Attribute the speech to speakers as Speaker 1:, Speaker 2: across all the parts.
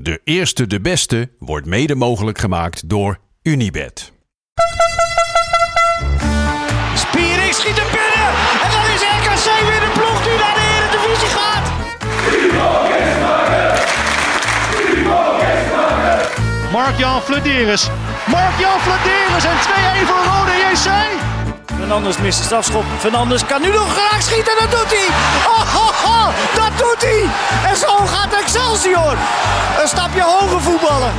Speaker 1: De eerste de beste wordt mede mogelijk gemaakt door Unibed.
Speaker 2: Spiering schiet er binnen. En dan is RKC weer de ploeg die naar de Eredivisie gaat. Mark-Jan Flederis. Mark-Jan Flederis en 2-1 voor Rode JC. Fernandes mist de strafschop. Fernandes kan nu nog graag schieten. Dat doet hij. Oh, oh, oh, dat doet hij. En zo gaat Excelsior. Een stapje hoger voetballen.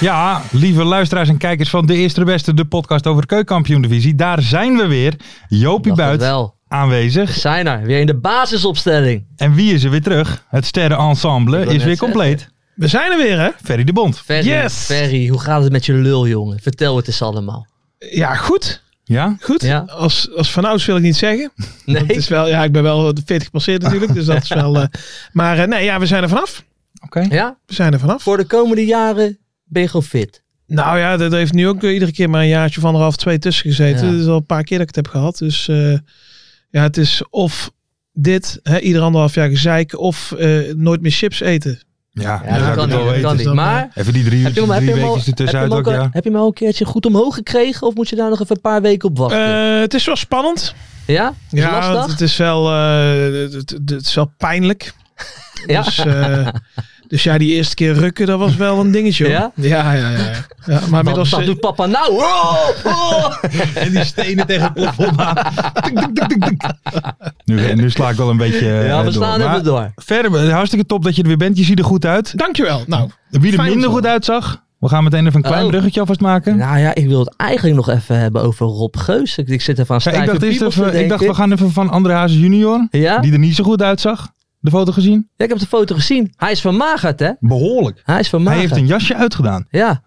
Speaker 3: Ja, lieve luisteraars en kijkers van De Eerste de Beste, de podcast over de Keukenkampioen-divisie. Daar zijn we weer. Jopie
Speaker 4: Dacht het
Speaker 3: Buit
Speaker 4: wel. We
Speaker 3: aanwezig.
Speaker 4: zijn er. Weer in de basisopstelling.
Speaker 3: En wie is er weer terug? Het sterrenensemble
Speaker 4: wou
Speaker 3: is
Speaker 4: net
Speaker 3: weer compleet.
Speaker 5: We zijn er weer, hè?
Speaker 3: Ferry de Bond.
Speaker 4: Ferry,
Speaker 5: Yes!
Speaker 4: Ferry, hoe gaat het met je lul, jongen? Vertel het eens allemaal.
Speaker 5: Ja, goed.
Speaker 3: Ja?
Speaker 5: Goed.
Speaker 4: Ja.
Speaker 5: Als, als vanouds wil ik niet zeggen.
Speaker 4: Nee,
Speaker 5: Het is wel, ja, ik ben wel 40 gepasseerd natuurlijk, dus dat is wel... eh, maar eh, nee, ja, we zijn er vanaf.
Speaker 3: Oké.
Speaker 4: ja?
Speaker 5: We zijn er vanaf.
Speaker 4: voor de komende jaren ben je gewoon fit.
Speaker 5: Nou ja, dat heeft nu ook eh, iedere keer maar een jaartje of anderhalf, twee tussen gezeten.
Speaker 4: Ja.
Speaker 5: Dat is al een paar keer dat ik het heb gehad. Dus eh, ja, het is of dit, hè, ieder anderhalf jaar gezeik, of eh, nooit meer chips eten.
Speaker 3: Ja,
Speaker 4: Ja, dat
Speaker 3: ik
Speaker 4: kan
Speaker 3: wil
Speaker 4: niet. Dat
Speaker 3: weten.
Speaker 4: kan niet.
Speaker 5: dan,
Speaker 4: Maar
Speaker 3: Even die drie,
Speaker 4: heb je,
Speaker 3: uurtjes,
Speaker 4: hem, heb, je
Speaker 3: drie
Speaker 4: hem al,
Speaker 3: weekjes
Speaker 4: heb, je hem
Speaker 3: ertussenuit ook,
Speaker 4: ook, al-
Speaker 3: ja.
Speaker 4: heb je hem al een keertje goed omhoog gekregen? Of moet je daar nog even een paar weken op wachten?
Speaker 5: Eh, het is wel spannend.
Speaker 4: ja? Is het
Speaker 5: Ja, want
Speaker 4: lastig?
Speaker 5: het is wel, eh, het, het- het is wel pijnlijk.
Speaker 4: Ja.
Speaker 5: Dus, eh, dus ja, die eerste keer rukken, dat was wel een dingetje. hoor.
Speaker 4: Ja?
Speaker 5: Ja, ja, ja. ja. Ja, maar
Speaker 4: Wat-
Speaker 5: inmiddels...
Speaker 4: wat,
Speaker 5: eh,
Speaker 4: doet papa nou? Oh, oh.
Speaker 3: En die stenen tegen het plafond aan. Tik,
Speaker 4: eh,
Speaker 3: tik, tik, tik, tik. Nu, nu sla ik wel een beetje eh,
Speaker 4: Ja, we
Speaker 3: door.
Speaker 4: slaan
Speaker 3: Maar
Speaker 4: even door.
Speaker 3: Verder, eh, hartstikke top dat je er weer bent. Je ziet er goed uit.
Speaker 5: Dankjewel. Nou,
Speaker 3: Wie er
Speaker 5: Fijn om
Speaker 3: minder
Speaker 5: te
Speaker 3: goed
Speaker 5: horen.
Speaker 3: uitzag, we gaan meteen even een klein
Speaker 4: Oh.
Speaker 3: bruggetje alvast maken.
Speaker 4: Nou ja, ik wil het eigenlijk nog even hebben over Rob Geus. Ik, ik zit even aan
Speaker 3: Ja, ik
Speaker 4: Stijn
Speaker 3: dacht,
Speaker 4: van
Speaker 3: eerst
Speaker 4: Piemels te
Speaker 3: even, ik dacht we
Speaker 4: denken.
Speaker 3: gaan even van André Hazes junior,
Speaker 4: Ja?
Speaker 3: die er niet zo goed uitzag, de foto gezien.
Speaker 4: Ja, ik heb de foto gezien. Hij is vermagerd, hè?
Speaker 3: Behoorlijk.
Speaker 4: Hij
Speaker 3: Hij
Speaker 4: is vermagerd.
Speaker 3: heeft een jasje uitgedaan.
Speaker 4: Ja.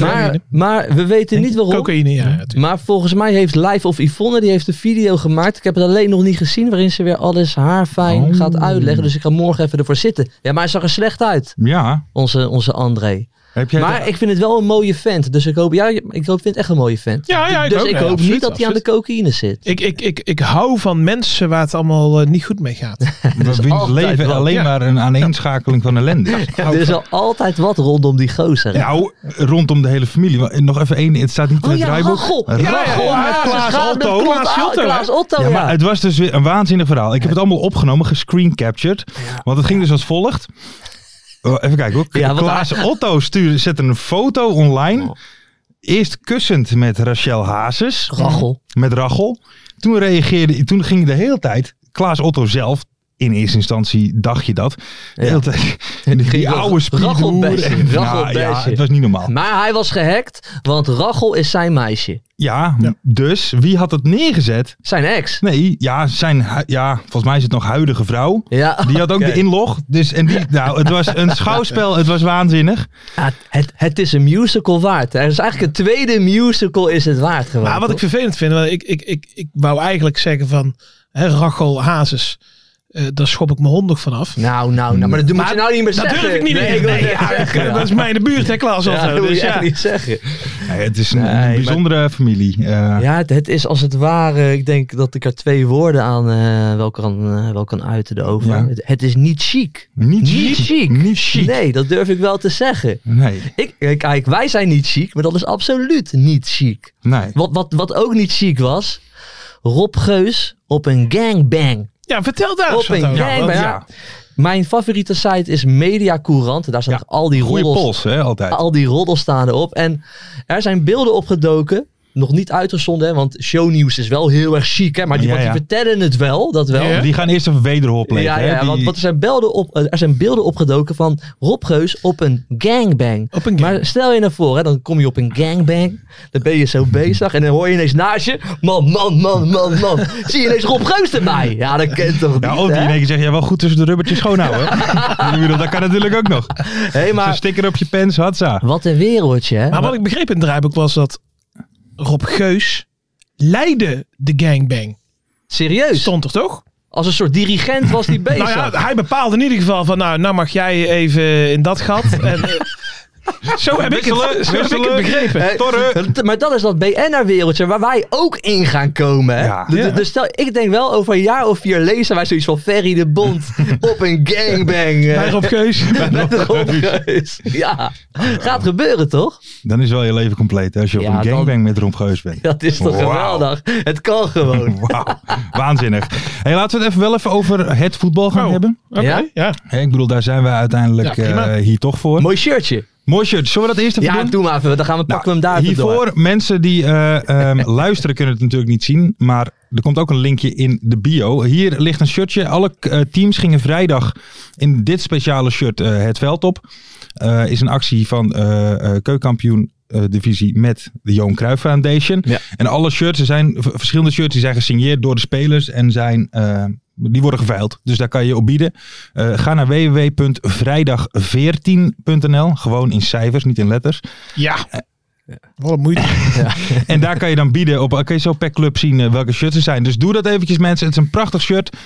Speaker 4: Maar,
Speaker 5: Cocaïne.
Speaker 4: maar we weten niet waarom.
Speaker 5: cocaïne, ja. natuurlijk.
Speaker 4: Maar volgens mij heeft Live of Yvonne, die heeft een video gemaakt. Ik heb het alleen nog niet gezien, waarin ze weer alles haarfijn
Speaker 3: Oh.
Speaker 4: gaat uitleggen. Dus ik ga morgen even ervoor zitten. Ja, maar hij zag er slecht uit,
Speaker 3: Ja.
Speaker 4: onze, onze André.
Speaker 3: Heb jij
Speaker 4: maar ik vind het wel een mooie vent. Dus ik hoop, ja, ik hoop, vind het echt een mooie vent.
Speaker 5: Ja, ja, ik
Speaker 4: dus
Speaker 5: ook,
Speaker 4: ik
Speaker 5: ja,
Speaker 4: hoop
Speaker 5: absoluut,
Speaker 4: niet dat hij aan de
Speaker 5: absoluut.
Speaker 4: cocaïne zit.
Speaker 5: Ik, ik, ik, ik hou van mensen waar het allemaal eh, niet goed mee gaat.
Speaker 3: dat wiens
Speaker 4: altijd
Speaker 3: leven
Speaker 4: wel.
Speaker 3: alleen
Speaker 5: Ja.
Speaker 3: maar een aaneenschakeling van ellende is.
Speaker 4: er is al altijd wat rondom die gozer. hè?
Speaker 3: Nou, rondom de hele familie. Maar Nog even één, het staat niet in
Speaker 4: oh
Speaker 3: het
Speaker 4: ja,
Speaker 3: draaiboek.
Speaker 4: Rachel.
Speaker 3: Rachel.
Speaker 4: Rachel
Speaker 5: ja,
Speaker 4: met
Speaker 5: ja,
Speaker 4: zijn
Speaker 5: Klaas
Speaker 4: schouder
Speaker 5: Otto,
Speaker 4: klopt
Speaker 5: Klaas
Speaker 4: aan.
Speaker 5: Otto, hè?
Speaker 4: Klaas Otto,
Speaker 3: Ja,
Speaker 4: ja.
Speaker 3: maar het was dus weer een waanzinnig verhaal. Ik heb het allemaal opgenomen, gescreencaptured. Want het ging dus als volgt. Oh, Even kijken hoor.
Speaker 4: Ja, Oh. want
Speaker 3: Klaas Otto stuurde, zette een foto online. Eerst kussend met Rachel Hazes.
Speaker 4: Rachel.
Speaker 3: Met Rachel. Toen reageerde, toen ging de hele tijd Klaas Otto zelf. In eerste instantie dacht je dat. De hele tijd. Die,
Speaker 4: ging wel
Speaker 3: oude spiedoer.
Speaker 4: rachelbesje,
Speaker 3: en- Nou,
Speaker 4: rachelbesje.
Speaker 3: ja, het was niet normaal.
Speaker 4: Maar hij was gehackt, want Rachel is zijn meisje.
Speaker 3: Ja, dus wie had het neergezet?
Speaker 4: Zijn ex.
Speaker 3: Nee, ja, zijn, hu- ja, volgens mij is het nog huidige vrouw.
Speaker 4: Ja.
Speaker 3: Die had ook de inlog. Dus, en die, nou, het was een schouwspel. Het was waanzinnig.
Speaker 4: Ja, het, het is een musical waard. Er is eigenlijk een tweede musical is het waard geworden.
Speaker 5: Maar Nou, wat ik vervelend vind, want ik, ik, ik, ik wou eigenlijk zeggen van... Hè, Rachel Hazes, eh, daar schop ik mijn hond nog vanaf.
Speaker 4: Nou, nou, nou, maar dat doe- moet je nou niet meer
Speaker 5: Dat
Speaker 4: zeggen.
Speaker 5: durf ik niet
Speaker 4: Nee,
Speaker 5: meer.
Speaker 4: wil
Speaker 5: Nee,
Speaker 4: het
Speaker 5: ja,
Speaker 4: echt zeggen.
Speaker 5: Dat is mijn buurt, hè, Klaas?
Speaker 4: Ja,
Speaker 5: Otto.
Speaker 4: dat wil
Speaker 5: dus
Speaker 4: je echt
Speaker 5: ja.
Speaker 4: niet zeggen.
Speaker 3: Nee, het is een,
Speaker 4: Nee,
Speaker 3: een
Speaker 4: maar-
Speaker 3: bijzondere familie. Eh,
Speaker 4: Ja, het, het is als het ware, ik denk dat ik er twee woorden aan eh, wel, kan, eh, wel kan uiten erover.
Speaker 3: Ja.
Speaker 4: Het, het is niet chic.
Speaker 3: Niet
Speaker 4: Niet
Speaker 3: chic.
Speaker 4: chic.
Speaker 3: Niet chic.
Speaker 4: Nee, dat durf ik wel te zeggen.
Speaker 3: Nee,
Speaker 4: Ik, eh, kijk, wij zijn niet chic, maar dat is absoluut niet chic.
Speaker 3: nee.
Speaker 4: Wat, wat, wat ook niet chic was, Rob Geus op een gangbang.
Speaker 5: Ja, vertel daar
Speaker 4: Op
Speaker 5: eens wat
Speaker 4: een
Speaker 5: over.
Speaker 3: Ja,
Speaker 4: gangbang.
Speaker 3: want-
Speaker 4: Ja. Mijn favoriete site is Media Courant. Daar staan
Speaker 3: Ja,
Speaker 4: al die
Speaker 3: Goeie
Speaker 4: roddels.
Speaker 3: pols, hè, altijd.
Speaker 4: Al die roddels staan erop. En er zijn beelden opgedoken nog niet uitgezonden, hè, want shownieuws is wel heel erg chic, hè, maar die,
Speaker 3: Ja,
Speaker 4: want die
Speaker 3: ja.
Speaker 4: vertellen het wel, dat wel.
Speaker 5: Ja.
Speaker 4: Ja,
Speaker 3: Die gaan eerst even wederhoor plegen.
Speaker 4: ja,
Speaker 3: hè? Die-
Speaker 4: want, want er, zijn beelden op, eh, er zijn beelden opgedoken van Rob Geus op een gangbang.
Speaker 5: Op een
Speaker 4: Maar stel je naar voren, hè, dan kom je op een gangbang. Dan ben je zo bezig en dan hoor je ineens naast je... Man, man, man, man, man. Zie je ineens Rob Geus erbij. Ja, dat kent toch
Speaker 3: Ja,
Speaker 4: niet,
Speaker 3: of die
Speaker 4: hè?
Speaker 3: in één keer zegt, ja, wel goed tussen de rubbertjes schoonhouden. Ik bedoel, dat kan natuurlijk ook nog.
Speaker 4: Hey,
Speaker 3: Een
Speaker 4: maar
Speaker 3: sticker op je pens, hatsa.
Speaker 4: wat een wereldje, hè?
Speaker 5: Maar wat ik begreep in het draaiboek was dat Rob Geus leidde de gangbang.
Speaker 4: Serieus.
Speaker 5: Stond er toch?
Speaker 4: Als een soort dirigent was die bezig.
Speaker 5: Nou ja, hij bepaalde in ieder geval van nou, nou mag jij even in dat gat. en, eh, zo heb ik het,
Speaker 3: Wisselen,
Speaker 5: zo heb ik het
Speaker 3: wisselen.
Speaker 5: begrepen.
Speaker 4: Hey, t- Eh, Maar dat is dat BNR-wereldje waar wij ook in gaan komen. Hè?
Speaker 3: Ja.
Speaker 4: D- d-
Speaker 5: Ja.
Speaker 4: Dus stel, ik denk wel over een jaar of vier lezen wij zoiets van Ferry de Bond op een gangbang. eh,
Speaker 5: Bij Rob Geus.
Speaker 4: met Rob Geus. Ja, gaat gebeuren toch?
Speaker 3: Dan is wel je leven compleet hè, als je
Speaker 4: Ja,
Speaker 3: op een
Speaker 4: dan-
Speaker 3: gangbang met Rob Geus bent.
Speaker 4: Dat is toch
Speaker 3: Wauw.
Speaker 4: geweldig? Het kan gewoon.
Speaker 3: Wauw, waanzinnig. Hey, laten we het even wel even over het voetbal gaan
Speaker 5: Oh.
Speaker 3: hebben.
Speaker 5: Oké,
Speaker 4: Ja?
Speaker 5: ja.
Speaker 3: Hey, ik bedoel, daar zijn we uiteindelijk
Speaker 5: Ja, prima.
Speaker 3: eh, hier toch voor.
Speaker 4: Mooi shirtje.
Speaker 3: Mooi shirt, zullen we dat eerst even
Speaker 4: Ja,
Speaker 3: doen?
Speaker 4: doe maar even. Dan gaan we, pakken we hem daar even door.
Speaker 3: Nou, Hiervoor, mensen die eh, ehm, luisteren kunnen het natuurlijk niet zien. Maar er komt ook een linkje in de bio. Hier ligt een shirtje. Alle eh, teams gingen vrijdag in dit speciale shirt eh, het veld op. Eh, is een actie van eh eh, keukenkampioen eh, divisie met de Johan Cruijff Foundation.
Speaker 4: Ja.
Speaker 3: En alle shirts, er zijn v- verschillende shirts die zijn gesigneerd door de spelers en zijn... eh, die worden geveild. Dus daar kan je op bieden. Eh, ga naar www.vrijdag14.nl. Gewoon in cijfers, niet in letters.
Speaker 5: ja. Wat een moeite.
Speaker 3: En daar kan je dan bieden op. Kan je zo per club zien eh, welke shirts er zijn. Dus doe dat eventjes mensen. Het is een prachtig shirt.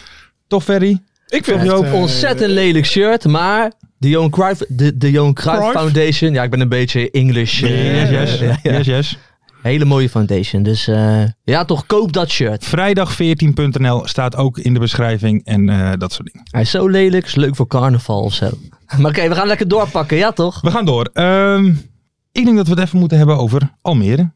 Speaker 3: Toch Ferry?
Speaker 5: Ik vind
Speaker 3: Joop,
Speaker 5: eh,
Speaker 4: Ontzettend lelijk shirt, maar de Johan Cruijff, de, de Johan Cruijff
Speaker 5: Cruijff?
Speaker 4: Foundation. Ja, ik ben een beetje English. eh,
Speaker 3: Yes, yes.
Speaker 4: ja, ja.
Speaker 3: yes, yes.
Speaker 4: Hele mooie foundation. Dus eh, ja, toch koop dat shirt.
Speaker 3: Vrijdag14.nl staat ook in de beschrijving en eh, dat soort dingen.
Speaker 4: Hij is zo lelijk, is leuk voor carnaval of zo. Maar oké, we gaan lekker doorpakken, ja toch?
Speaker 3: We gaan door. Ehm, ik denk dat we het even moeten hebben over Almere.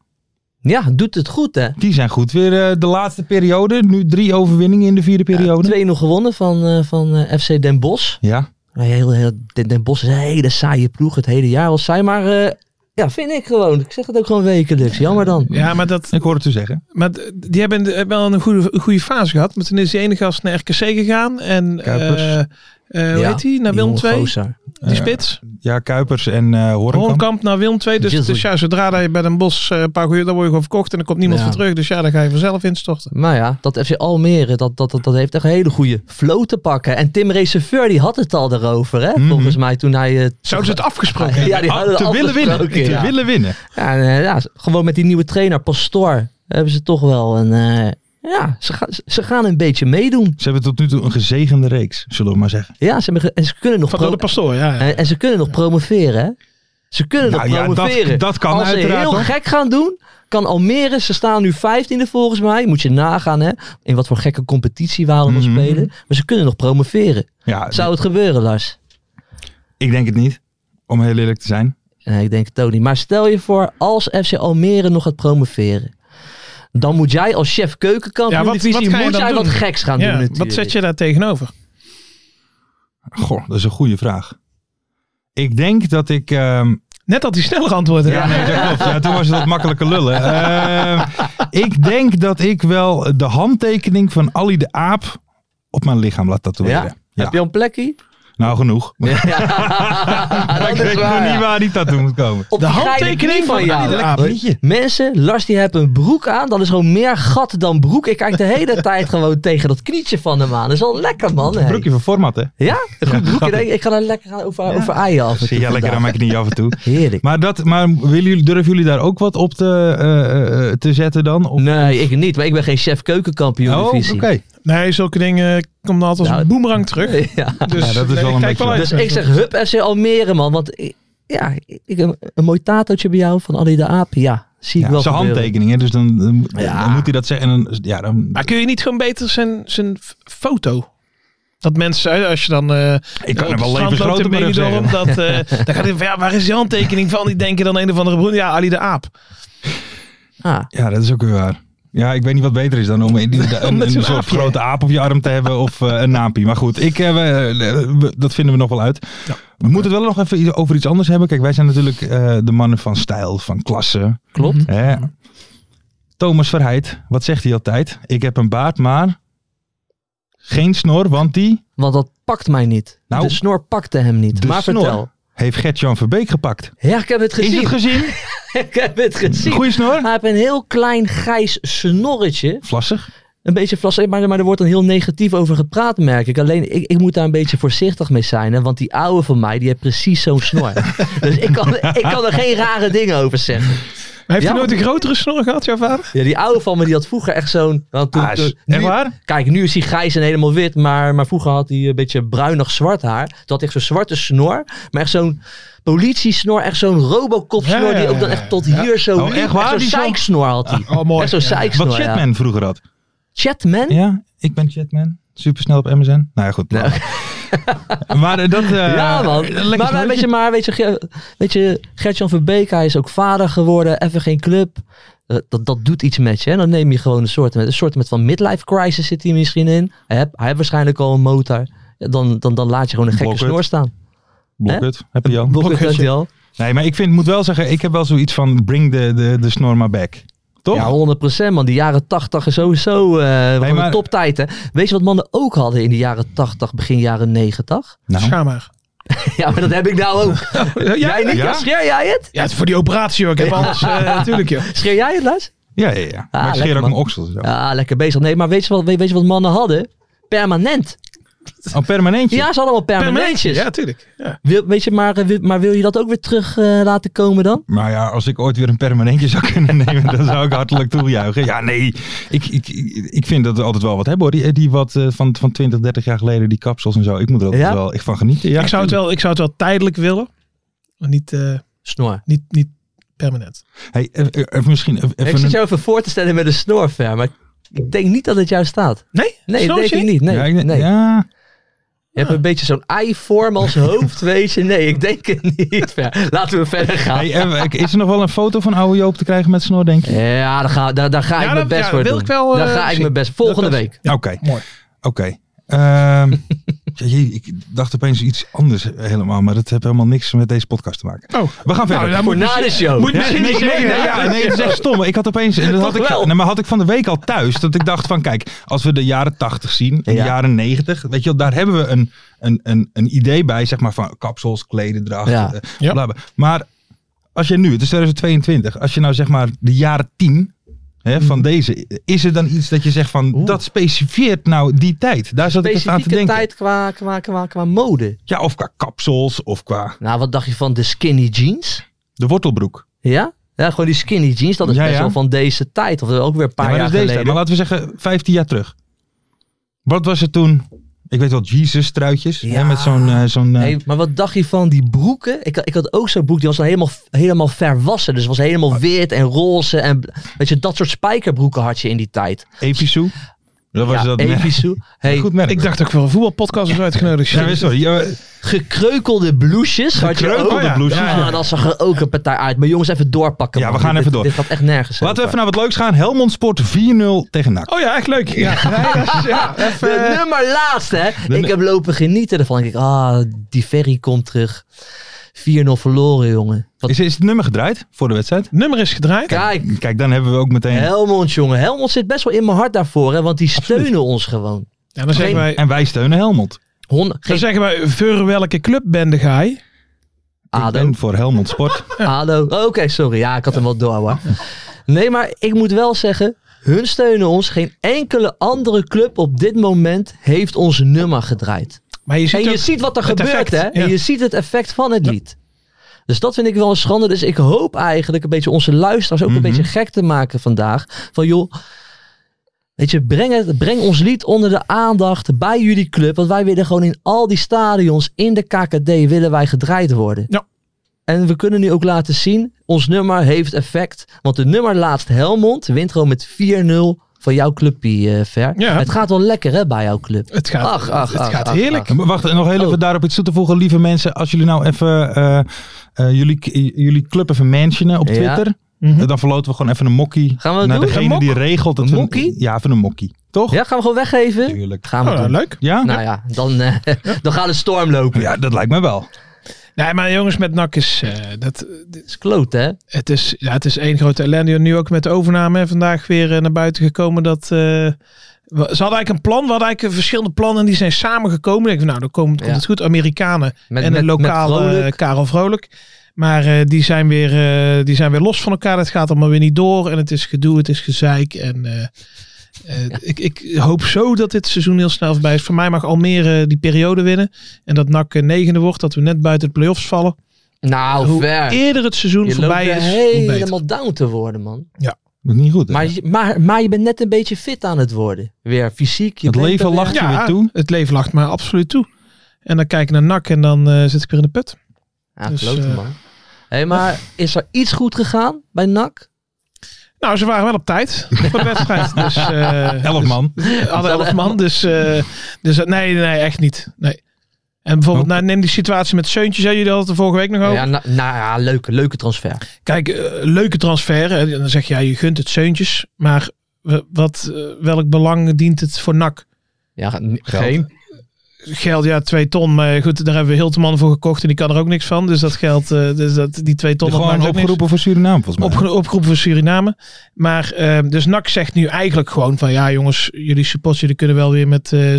Speaker 4: Ja, doet het goed hè.
Speaker 3: Die zijn goed. Weer eh, de laatste periode. Nu drie overwinningen in de vierde periode.
Speaker 4: 2-0 gewonnen van, eh, van eh, FC Den Bosch.
Speaker 3: Ja.
Speaker 4: Maar Heel, heel, Den, Den Bosch is een hele saaie ploeg, het hele jaar al saai. Maar eh, ja, vind ik gewoon. Ik zeg het ook gewoon wekelijks. Jammer dan.
Speaker 5: Ja, maar, dat,
Speaker 3: Ik hoor het u zeggen.
Speaker 5: maar d- die hebben de- wel een goede, goede fase gehad. Maar toen is die ene gast naar RKC gegaan. En
Speaker 3: Kuipers.
Speaker 5: eh, eh, hoe
Speaker 4: Ja,
Speaker 5: heet die? Naar
Speaker 4: die
Speaker 5: Wilm
Speaker 4: jonge
Speaker 5: 2.
Speaker 4: gozer. eh,
Speaker 5: Die spits.
Speaker 3: Ja, Kuipers en eh Horenkamp.
Speaker 5: Hoornkamp naar Wilm 2. Dus,
Speaker 4: Jizzle.
Speaker 5: dus ja, zodra dat je bij een bos eh, een paar goeie, dan word je gewoon verkocht. En dan komt niemand
Speaker 4: Ja.
Speaker 5: voor terug. Dus ja, dan ga je vanzelf instorten.
Speaker 4: Maar ja, dat FC Almere, dat, dat, dat, dat heeft echt een hele goede flow te pakken. En Tim Receveur, die had het al daarover, hè?
Speaker 3: Mhm.
Speaker 4: Volgens mij toen hij... eh,
Speaker 5: Zouden ze het afgesproken hebben?
Speaker 4: ja, die hadden
Speaker 3: Ah, te
Speaker 4: het
Speaker 3: willen winnen.
Speaker 4: afgesproken,
Speaker 3: Te
Speaker 4: ja.
Speaker 3: willen winnen.
Speaker 4: Ja, en, eh, ja, s- gewoon met die nieuwe trainer, Pastoor, hebben ze toch wel een... eh, ja, ze, gaan ze gaan een beetje meedoen.
Speaker 3: Ze hebben tot nu toe een gezegende reeks, zullen we maar zeggen.
Speaker 4: Ja, ze hebben ge- en, ze kunnen nog
Speaker 5: Van
Speaker 4: pro- eh,
Speaker 5: Rode Pastoor, ja. ja.
Speaker 4: en, en ze kunnen nog promoveren, hè? Ze kunnen
Speaker 3: Nou
Speaker 4: nog
Speaker 3: ja, dat-
Speaker 4: promoveren.
Speaker 3: dat kan
Speaker 4: Als ze
Speaker 3: uiteraard,
Speaker 4: heel
Speaker 3: hoor.
Speaker 4: gek gaan doen, kan Almere, ze staan nu vijftiende volgens mij. Moet je nagaan, hè? In wat voor gekke competitie we allemaal
Speaker 3: Mhm.
Speaker 4: spelen. Maar ze kunnen nog promoveren.
Speaker 3: Ja,
Speaker 4: Zou het gebeuren, Lars?
Speaker 3: ik denk het niet. Om heel eerlijk te zijn.
Speaker 4: Nee, ik denk het ook niet. Maar stel je voor, als FC Almere nog gaat promoveren. Dan moet jij als chef
Speaker 5: Ja,
Speaker 4: keukenkampioen
Speaker 5: wat-
Speaker 4: divisie,
Speaker 5: wat ga je
Speaker 4: moet
Speaker 5: dan
Speaker 4: jij
Speaker 5: doen?
Speaker 4: wat geks gaan
Speaker 5: Ja,
Speaker 4: doen natuurlijk.
Speaker 5: wat zet je daar tegenover?
Speaker 3: Goh, dat is een goede vraag. Ik denk dat ik. ehm,
Speaker 5: Net had hij sneller antwoorden.
Speaker 3: ja, nee, dat klopt. Ja, toen was het wat makkelijker lullen. Ehm, ik denk dat ik wel de handtekening van Ali de Aap op mijn lichaam laat tatoeëren.
Speaker 4: Ja? Heb je al een plekje? Ah,
Speaker 3: Nou, genoeg. Maar
Speaker 4: dat
Speaker 3: ik
Speaker 4: is
Speaker 3: weet
Speaker 4: waar,
Speaker 3: nog
Speaker 4: ja.
Speaker 3: niet waar die tattoo moet komen.
Speaker 4: Op
Speaker 5: De
Speaker 4: die geile
Speaker 5: handtekening
Speaker 4: knie
Speaker 5: van
Speaker 4: jou.
Speaker 5: Arie de
Speaker 3: Aap.
Speaker 4: Mensen, Lars die heeft een broek aan. Dat is gewoon meer gat dan broek. Ik kijk de hele tijd gewoon tegen dat knietje van hem aan. Dat is wel lekker, man. hè.
Speaker 3: Broekje van format, hè?
Speaker 4: Ja? Een goed broekje. denk ik. ik ga daar lekker aan over, over aaien af en toe
Speaker 3: Zit jij lekker
Speaker 4: vandaag.
Speaker 3: aan mijn knie af en toe.
Speaker 4: Heerlijk.
Speaker 3: Maar, dat, maar willen jullie, durven jullie daar ook wat op te, eh, eh, te zetten dan? Of-
Speaker 4: Nee, ik niet. Maar ik ben geen chef keukenkampioen
Speaker 3: oh, oké.
Speaker 4: divisie.
Speaker 5: Nee, zulke dingen komen dan altijd als
Speaker 4: Nou,
Speaker 5: een boemerang terug.
Speaker 4: Ja.
Speaker 5: Dus
Speaker 3: Ja, dat is
Speaker 5: nee,
Speaker 3: wel
Speaker 5: ik
Speaker 3: een
Speaker 5: kijk
Speaker 3: beetje-
Speaker 5: wel uit.
Speaker 4: Dus ik zeg hup FC Almere, man. Want ik- ja, ik, een, een mooi tatootje bij jou van Ali de Aap. Ja, zie ik
Speaker 3: Ja,
Speaker 4: wel
Speaker 3: zijn
Speaker 4: gebeuren.
Speaker 3: handtekening, hè? dus dan, dan,
Speaker 4: Ja.
Speaker 3: dan moet hij dat zeggen. En dan, ja, dan,
Speaker 5: Maar kun je niet gewoon beter zijn, zijn f- foto? Dat mensen, eh, als je dan eh,
Speaker 3: ik kan hem
Speaker 5: op het
Speaker 3: wel
Speaker 5: strand loopt
Speaker 3: levensgroot
Speaker 5: in
Speaker 3: op mijn rug
Speaker 5: Benidorm,
Speaker 3: zeggen.
Speaker 5: dat, eh, dan gaat hij van, ja, waar is die handtekening van? Die denken dan een of andere broer, ja, Ali de Aap.
Speaker 4: Ah,
Speaker 3: Ja, dat is ook weer waar. Ja, ik weet niet wat beter is dan om een, een, een,
Speaker 5: Met zo'n
Speaker 3: soort
Speaker 5: aapje.
Speaker 3: grote aap op je arm te hebben of eh, een naampie. Maar goed, ik, eh, we- we- dat vinden we nog wel uit. We moeten het wel nog even i- over iets anders hebben. Kijk, wij zijn natuurlijk eh, de mannen van stijl, van klasse.
Speaker 4: klopt.
Speaker 3: Hè? Thomas Verheid, wat zegt hij altijd? Ik heb een baard, maar geen snor, want die
Speaker 4: Want dat pakt mij niet.
Speaker 3: Nou,
Speaker 4: de snor pakte hem niet.
Speaker 3: de
Speaker 4: maar
Speaker 3: snor.
Speaker 4: vertel.
Speaker 3: heeft Gert-Jan Verbeek gepakt.
Speaker 4: Ja, ik heb het gezien.
Speaker 3: Is het gezien?
Speaker 4: ik heb het gezien.
Speaker 3: Goeie snor?
Speaker 4: Hij heeft een heel klein grijs snorretje.
Speaker 3: Vlassig.
Speaker 4: Een beetje flas, maar, maar er wordt dan heel negatief over gepraat, merk ik. Alleen, ik, ik moet daar een beetje voorzichtig mee zijn. Hè, want die oude van mij, die heeft precies zo'n snor. dus ik kan, ik kan er geen rare dingen over zeggen.
Speaker 5: Maar heeft
Speaker 4: Ja,
Speaker 5: hij nooit
Speaker 4: want-
Speaker 5: een grotere snor gehad, jouw vader?
Speaker 4: Ja, die oude van me, die had vroeger echt zo'n... nou, toen-
Speaker 3: Ah, is-
Speaker 4: toen-
Speaker 3: echt
Speaker 4: nu-
Speaker 3: waar?
Speaker 4: Kijk, nu is hij grijs en helemaal wit. Maar, maar vroeger had hij een beetje bruinig zwart haar. Toen had hij echt zo'n zwarte snor. Maar echt zo'n politiesnor. Echt zo'n robocop snor.
Speaker 5: Ja, ja,
Speaker 4: Die ook dan
Speaker 5: ja,
Speaker 4: echt tot hier zo
Speaker 3: Oh,
Speaker 4: liep.
Speaker 3: echt waar?
Speaker 4: Echt
Speaker 3: Die
Speaker 4: Zo'n
Speaker 3: zo-
Speaker 4: zeiksnor had hij.
Speaker 5: Oh, mooi.
Speaker 4: Echt zo'n zeiksnor,
Speaker 3: Wat
Speaker 4: ja. Hm?
Speaker 3: Chatman vroeger had.
Speaker 4: Chatman?
Speaker 3: Ja, ik ben Chatman. Supersnel op MSN. Nou ja, goed. maar eh, dat... eh,
Speaker 4: Ja, man.
Speaker 3: lekker
Speaker 4: maar, maar
Speaker 3: snorretje.
Speaker 4: weet je, maar weet je, Ge- weet je Gertjan Verbeek, hij is ook vader geworden. Even geen club. Eh, Dat, dat doet iets met je. Hè? Dan neem je gewoon een soort, met, een soort met van midlife crisis zit hij misschien in. Hij heeft, hij heeft waarschijnlijk al een motor. Ja, Dan, dan, dan laat je gewoon een gekke
Speaker 3: Blokhut.
Speaker 4: snor staan.
Speaker 3: Blokhut, heb je al.
Speaker 4: Blokhut heeft hij al.
Speaker 3: Nee, maar ik vind, moet wel zeggen, ik heb wel zoiets van bring de, de, de snor maar back. Toch?
Speaker 4: Ja, 100% man. Die jaren 80 is sowieso eh gewoon
Speaker 3: maar-
Speaker 4: een toptijd. Hè? Weet je wat mannen ook hadden in de jaren 80, begin jaren 90?
Speaker 3: Nou.
Speaker 5: Schaam maar.
Speaker 4: Ja, maar dat heb ik nou ook.
Speaker 5: Ja,
Speaker 4: jij niet?
Speaker 3: ja?
Speaker 4: Ja? Scheer jij het?
Speaker 5: Ja, het is voor die operatie hoor. Ik heb alles eh, natuurlijk joh.
Speaker 4: Scheer jij het, Lars?
Speaker 3: Ja, ja, ja. maar ik
Speaker 4: Ah, lekker,
Speaker 3: scheer ook
Speaker 4: man.
Speaker 3: mijn oksels. en Zo.
Speaker 4: Ja, lekker bezig. Nee, maar weet je wat, weet, weet je wat mannen hadden? Permanent.
Speaker 3: Een Oh, permanentje.
Speaker 4: Ja, ze hadden allemaal permanentjes.
Speaker 5: Ja, tuurlijk. Ja.
Speaker 4: Wil- weet je, maar, eh, wil- maar wil je dat ook weer terug eh, laten komen dan?
Speaker 3: Maar ja, als ik ooit weer een permanentje zou kunnen nemen, dan zou ik hartelijk toejuichen. Ja, nee, ik, ik, ik vind dat we altijd wel wat hebben hoor. Die, die wat eh, van, van 20, 30 jaar geleden, die kapsels en zo. Ik moet er altijd
Speaker 4: Ja?
Speaker 3: wel echt van genieten. Ja,
Speaker 5: ik, zou het wel, ik zou het wel tijdelijk willen. Maar niet, eh,
Speaker 4: Snor.
Speaker 5: niet, niet permanent.
Speaker 3: Hey, eh, eh, even misschien even
Speaker 4: ik zit
Speaker 3: een-
Speaker 4: jou even voor te stellen met een snor, Fer, maar ik denk niet dat het jou staat.
Speaker 5: Nee?
Speaker 4: Nee, dat
Speaker 5: Snor
Speaker 4: denk
Speaker 5: je
Speaker 4: ik niet. Nee,
Speaker 3: ja, ik-
Speaker 4: nee.
Speaker 3: ja.
Speaker 4: Je hebt een beetje zo'n ei-vorm als hoofd, weet je. Nee, ik denk het niet. Ver. Laten we verder gaan.
Speaker 3: Hey, eh, is er nog wel een foto van oude Joop te krijgen met snor, denk je?
Speaker 4: Ja, daar ga, daar, daar ga
Speaker 5: Ja,
Speaker 4: ik mijn
Speaker 5: dat-
Speaker 4: best
Speaker 5: ja,
Speaker 4: voor
Speaker 5: wil
Speaker 4: doen.
Speaker 5: ik wel,
Speaker 4: daar
Speaker 5: eh,
Speaker 4: ga ik
Speaker 5: zien.
Speaker 4: mijn best. Volgende
Speaker 5: Dat-
Speaker 4: week.
Speaker 3: Oké.
Speaker 5: Mooi.
Speaker 3: Oké. Ehm, ja, jee, ik dacht opeens iets anders helemaal, maar dat heeft helemaal niks met deze podcast te maken.
Speaker 5: Oh.
Speaker 3: We gaan verder.
Speaker 4: Voor na de show.
Speaker 5: Moet
Speaker 3: Ja,
Speaker 5: misschien
Speaker 3: nee,
Speaker 5: niet
Speaker 3: nee,
Speaker 5: zeggen.
Speaker 3: nee,
Speaker 5: hè?
Speaker 3: ja, nee, dat is echt stom. Ik had opeens, en dat had
Speaker 4: Toch
Speaker 3: ik,
Speaker 4: wel?
Speaker 3: nee, maar had ik van de week al thuis, dat ik dacht van, kijk, als we de jaren 80 zien, en
Speaker 4: Ja.
Speaker 3: de jaren 90, weet je wel, daar hebben we een, een, een, een idee bij, zeg maar, van kapsels, klededracht,
Speaker 4: Ja.
Speaker 3: eh,
Speaker 5: Ja.
Speaker 3: bla, bla. Maar als je nu, het is 2022, als je nou zeg maar de jaren 10 hè, van
Speaker 4: Hmm.
Speaker 3: deze, is er dan iets dat je zegt van, dat specifieert nou die tijd? Daar zat ik even aan te
Speaker 4: Specifieke
Speaker 3: denken.
Speaker 4: tijd qua, qua, qua, qua mode.
Speaker 3: Ja, of qua kapsels, of qua
Speaker 4: Nou, wat dacht je van de skinny jeans?
Speaker 3: de wortelbroek.
Speaker 4: Ja? Ja, gewoon die skinny jeans. Dat is
Speaker 3: Ja,
Speaker 4: best
Speaker 3: ja.
Speaker 4: wel van deze tijd. Of ook weer een
Speaker 3: Ja,
Speaker 4: paar
Speaker 3: maar dat
Speaker 4: jaar
Speaker 3: is deze tijd.
Speaker 4: geleden.
Speaker 3: Maar laten we zeggen 15 jaar terug. Wat was het toen? Ik weet wel, Jesus truitjes. Hè,
Speaker 4: Ja.
Speaker 3: met zo'n... eh, zo'n eh,
Speaker 4: Hey, maar wat dacht je van die broeken? Ik, ik had ook zo'n broek, die was dan helemaal, helemaal verwassen. Dus het was
Speaker 3: Oh.
Speaker 4: helemaal wit en roze. En weet je, dat soort spijkerbroeken had je in die tijd.
Speaker 3: Evisu. Dat was
Speaker 4: ja,
Speaker 3: dat merk.
Speaker 4: Evisu. Hey,
Speaker 3: Goed merk.
Speaker 5: Ik dacht ook voor een voetbalpodcast was uitgenodigd.
Speaker 3: Ja, maar sorry. Ja,
Speaker 4: gekreukelde blouses. had je
Speaker 3: Gekreukelde
Speaker 4: ook.
Speaker 3: Oh ja. blouses,
Speaker 4: Ja,
Speaker 3: ja.
Speaker 4: dat zag er ook een partij uit. Maar jongens, even doorpakken.
Speaker 3: Ja, we
Speaker 4: man.
Speaker 3: gaan
Speaker 4: Dit-
Speaker 3: even door.
Speaker 4: Dit gaat echt nergens
Speaker 3: laten we
Speaker 4: over.
Speaker 3: even naar wat leuks gaan. Helmond Sport 4-0 tegen NAC.
Speaker 5: Oh ja, echt leuk. Ja. Nee, dat is- ja, even,
Speaker 4: De
Speaker 5: eh,
Speaker 4: nummer laatste, hè. Ik heb lopen genieten ervan. Ik denk, ah, die ferry komt terug. 4-0 verloren, jongen. Wat
Speaker 3: Is, is het nummer gedraaid voor de wedstrijd?
Speaker 5: nummer is gedraaid.
Speaker 4: kijk.
Speaker 3: Kijk, dan hebben we ook meteen...
Speaker 4: Helmond, jongen. Helmond zit best wel in mijn hart daarvoor, hè. Want die steunen ons gewoon.
Speaker 5: Ja, dan zeggen wij,
Speaker 3: En wij steunen Helmond.
Speaker 4: Hon
Speaker 5: dan
Speaker 4: geen
Speaker 5: zeggen wij voor welke club ben de gaai?
Speaker 3: Ik
Speaker 4: ADO.
Speaker 3: ben voor Helmond Sport.
Speaker 4: ADO. Oh, Oké, sorry. Ja, ik had hem wel door, hoor. Nee, maar ik moet wel zeggen... Hun steunen ons. Geen enkele andere club op dit moment heeft ons nummer gedraaid.
Speaker 5: Maar je ziet,
Speaker 4: En je
Speaker 5: ook-
Speaker 4: ziet wat er
Speaker 5: het
Speaker 4: gebeurt,
Speaker 5: effect,
Speaker 4: hè?
Speaker 5: ja.
Speaker 4: En je ziet het effect van het lied. Dus dat vind ik wel een schande. Dus ik hoop eigenlijk een beetje onze luisteraars ook
Speaker 5: Mhm.
Speaker 4: een beetje gek te maken vandaag. Van joh, weet je, breng, het, breng ons lied onder de aandacht bij jullie club. Want wij willen gewoon in al die stadions in de KKD willen wij gedraaid worden.
Speaker 5: Ja.
Speaker 4: En we kunnen nu ook laten zien, ons nummer heeft effect. Want de nummer laatst Helmond wint gewoon met 4-0 van jouw clubpie, eh, Ver.
Speaker 5: Ja.
Speaker 4: Het gaat wel lekker, hè, bij jouw club.
Speaker 5: het gaat,
Speaker 4: Ach, ach,
Speaker 5: het
Speaker 4: ach,
Speaker 5: gaat
Speaker 4: ach,
Speaker 5: heerlijk.
Speaker 3: Maar Wacht, en nog heel even
Speaker 4: Oh.
Speaker 3: daarop iets toe te voegen. Lieve mensen, als jullie nou even eh, eh, jullie, jullie club even mentionen op
Speaker 4: Ja.
Speaker 3: Twitter. eh,
Speaker 5: Mhm.
Speaker 3: Dan verloten we gewoon even een mokkie.
Speaker 4: Gaan we dat
Speaker 3: naar
Speaker 4: doen? Een
Speaker 3: degene
Speaker 4: mok?
Speaker 3: die regelt dat
Speaker 4: Een
Speaker 3: we-
Speaker 4: mokkie?
Speaker 3: Ja, even een mokkie. Toch?
Speaker 4: Ja, gaan we gewoon weggeven?
Speaker 3: Tuurlijk.
Speaker 4: Gaan we
Speaker 5: Oh,
Speaker 4: doen.
Speaker 5: nou, leuk.
Speaker 3: Ja?
Speaker 4: Nou ja, dan, eh, dan gaat de storm lopen.
Speaker 3: ja, dat lijkt me wel.
Speaker 5: Nee, maar jongens, met NAC is... eh, dat,
Speaker 4: Het is kloot, hè?
Speaker 5: het, is ja, het is één grote ellende. Nu ook met de overname hè, vandaag weer eh, naar buiten gekomen dat... eh, we- ze hadden eigenlijk een plan, we hadden eigenlijk eh, verschillende plannen en die zijn samengekomen. Ik denk, van, nou, dan komt, komt
Speaker 4: Ja.
Speaker 5: het goed. Amerikanen
Speaker 4: Met,
Speaker 5: en
Speaker 4: met,
Speaker 5: een lokale
Speaker 4: met
Speaker 5: eh,
Speaker 4: Vrolijk.
Speaker 5: Karel Vrolijk. Maar eh, die, zijn weer, eh, die zijn weer los van elkaar. Het gaat allemaal weer niet door. En het is gedoe, het is gezeik. En eh, eh, ik, ik hoop zo dat dit seizoen heel snel voorbij is. Voor mij mag Almere die periode winnen. En dat NAC eh, negende wordt. Dat we net buiten de play-offs vallen.
Speaker 4: nou,
Speaker 5: Hoe
Speaker 4: ver.
Speaker 5: Eerder het seizoen
Speaker 4: Je loopt
Speaker 5: voorbij
Speaker 4: er
Speaker 5: is, hoe beter.
Speaker 4: helemaal down te worden, man.
Speaker 3: Dat is niet goed. hè?
Speaker 4: Maar, je- maar, maar je bent net een beetje fit aan het worden. Weer fysiek. Je
Speaker 3: het
Speaker 4: bent er
Speaker 3: leven
Speaker 4: weer-
Speaker 3: lacht je weer
Speaker 5: Ja,
Speaker 3: toe.
Speaker 5: het leven lacht me absoluut toe. En dan kijk ik naar NAC en dan eh, zit ik weer in de put.
Speaker 4: Ja,
Speaker 5: Dus,
Speaker 4: klote,
Speaker 5: eh,
Speaker 4: man. hey, maar is er iets goed gegaan bij NAC?
Speaker 5: Nou, ze waren wel op tijd voor de wedstrijd. Dus, eh,
Speaker 3: Elf
Speaker 5: dus-
Speaker 3: man.
Speaker 5: hadden elf man, dus, eh, dus nee, nee, echt niet. Nee. En bijvoorbeeld, nou, neem die situatie met Seuntje, zei jullie dat de vorige week nog over.
Speaker 4: Ja, na- nou ja, leuke, leuke transfer.
Speaker 5: Kijk, eh, leuke transfer. hè. En dan zeg je, ja, je gunt het Seuntjes, maar w- wat, eh, welk belang dient het voor NAC?
Speaker 4: Ja, n- geen.
Speaker 5: Geld, ja, twee ton, maar goed, daar hebben we Hilteman voor gekocht en die kan er ook niks van. Dus dat geld, eh, dus dat, die twee ton, dat maakt
Speaker 3: Gewoon
Speaker 5: ook niks.
Speaker 3: opgeroepen voor Suriname volgens mij.
Speaker 5: Opge- opgeroepen voor Suriname. Maar eh, dus NAC zegt nu eigenlijk gewoon van ja jongens, jullie supporters jullie kunnen wel weer met eh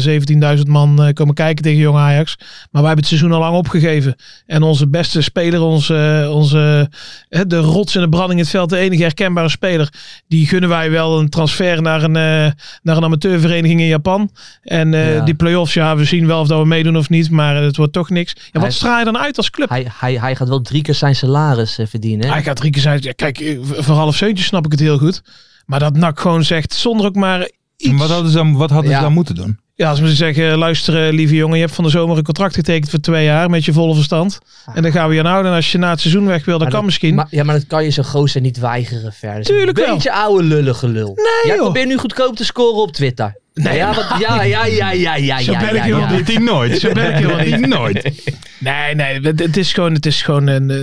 Speaker 5: 17.000 man eh, komen kijken tegen Jong Ajax. Maar wij hebben het seizoen al lang opgegeven. En onze beste speler, onze, eh, onze eh, de rots in de branding in het veld, de enige herkenbare speler, die gunnen wij wel een transfer naar een, eh, naar een amateurvereniging in Japan. En eh,
Speaker 4: Ja.
Speaker 5: die play-offs, ja we zien wel of dat we meedoen of niet, maar het wordt toch niks. Ja,
Speaker 4: Hij-
Speaker 5: wat straal je dan uit als club?
Speaker 4: Hij, hij, hij gaat wel drie keer zijn salaris eh, verdienen. hè?
Speaker 5: Hij gaat drie keer zijn. Ja, kijk, eh, voor half zeuntje snap ik het heel goed. Maar dat NAC gewoon zegt, zonder ook maar iets.
Speaker 3: En Wat hadden ze dan, wat hadden
Speaker 4: Ja.
Speaker 3: ze dan moeten doen?
Speaker 5: Ja, als we zeggen, luister eh, lieve jongen, je hebt van de zomer een contract getekend voor twee jaar met je volle verstand. En dan gaan we je aan houden. En als je na het seizoen weg wil, dan
Speaker 4: Ah. Maar
Speaker 5: kan
Speaker 4: dat-
Speaker 5: misschien.
Speaker 4: maar- ja, maar dat kan je zo'n gozer niet weigeren verder. Dus
Speaker 5: Tuurlijk
Speaker 4: een
Speaker 5: wel.
Speaker 4: beetje oude lullige lul. Nee, Jij
Speaker 5: joh.
Speaker 4: probeert nu goedkoop te scoren op Twitter.
Speaker 5: Nee,
Speaker 4: ja, wat, ja, ja, ja, ja, ja,
Speaker 5: Zo
Speaker 4: ja,
Speaker 5: ben ik
Speaker 4: ja,
Speaker 5: helemaal
Speaker 4: ja.
Speaker 5: niet.
Speaker 3: Die nooit.
Speaker 5: Zo ben ik helemaal niet.
Speaker 3: Die nooit.
Speaker 5: Nee, nee, het, het is gewoon, het is gewoon een eh,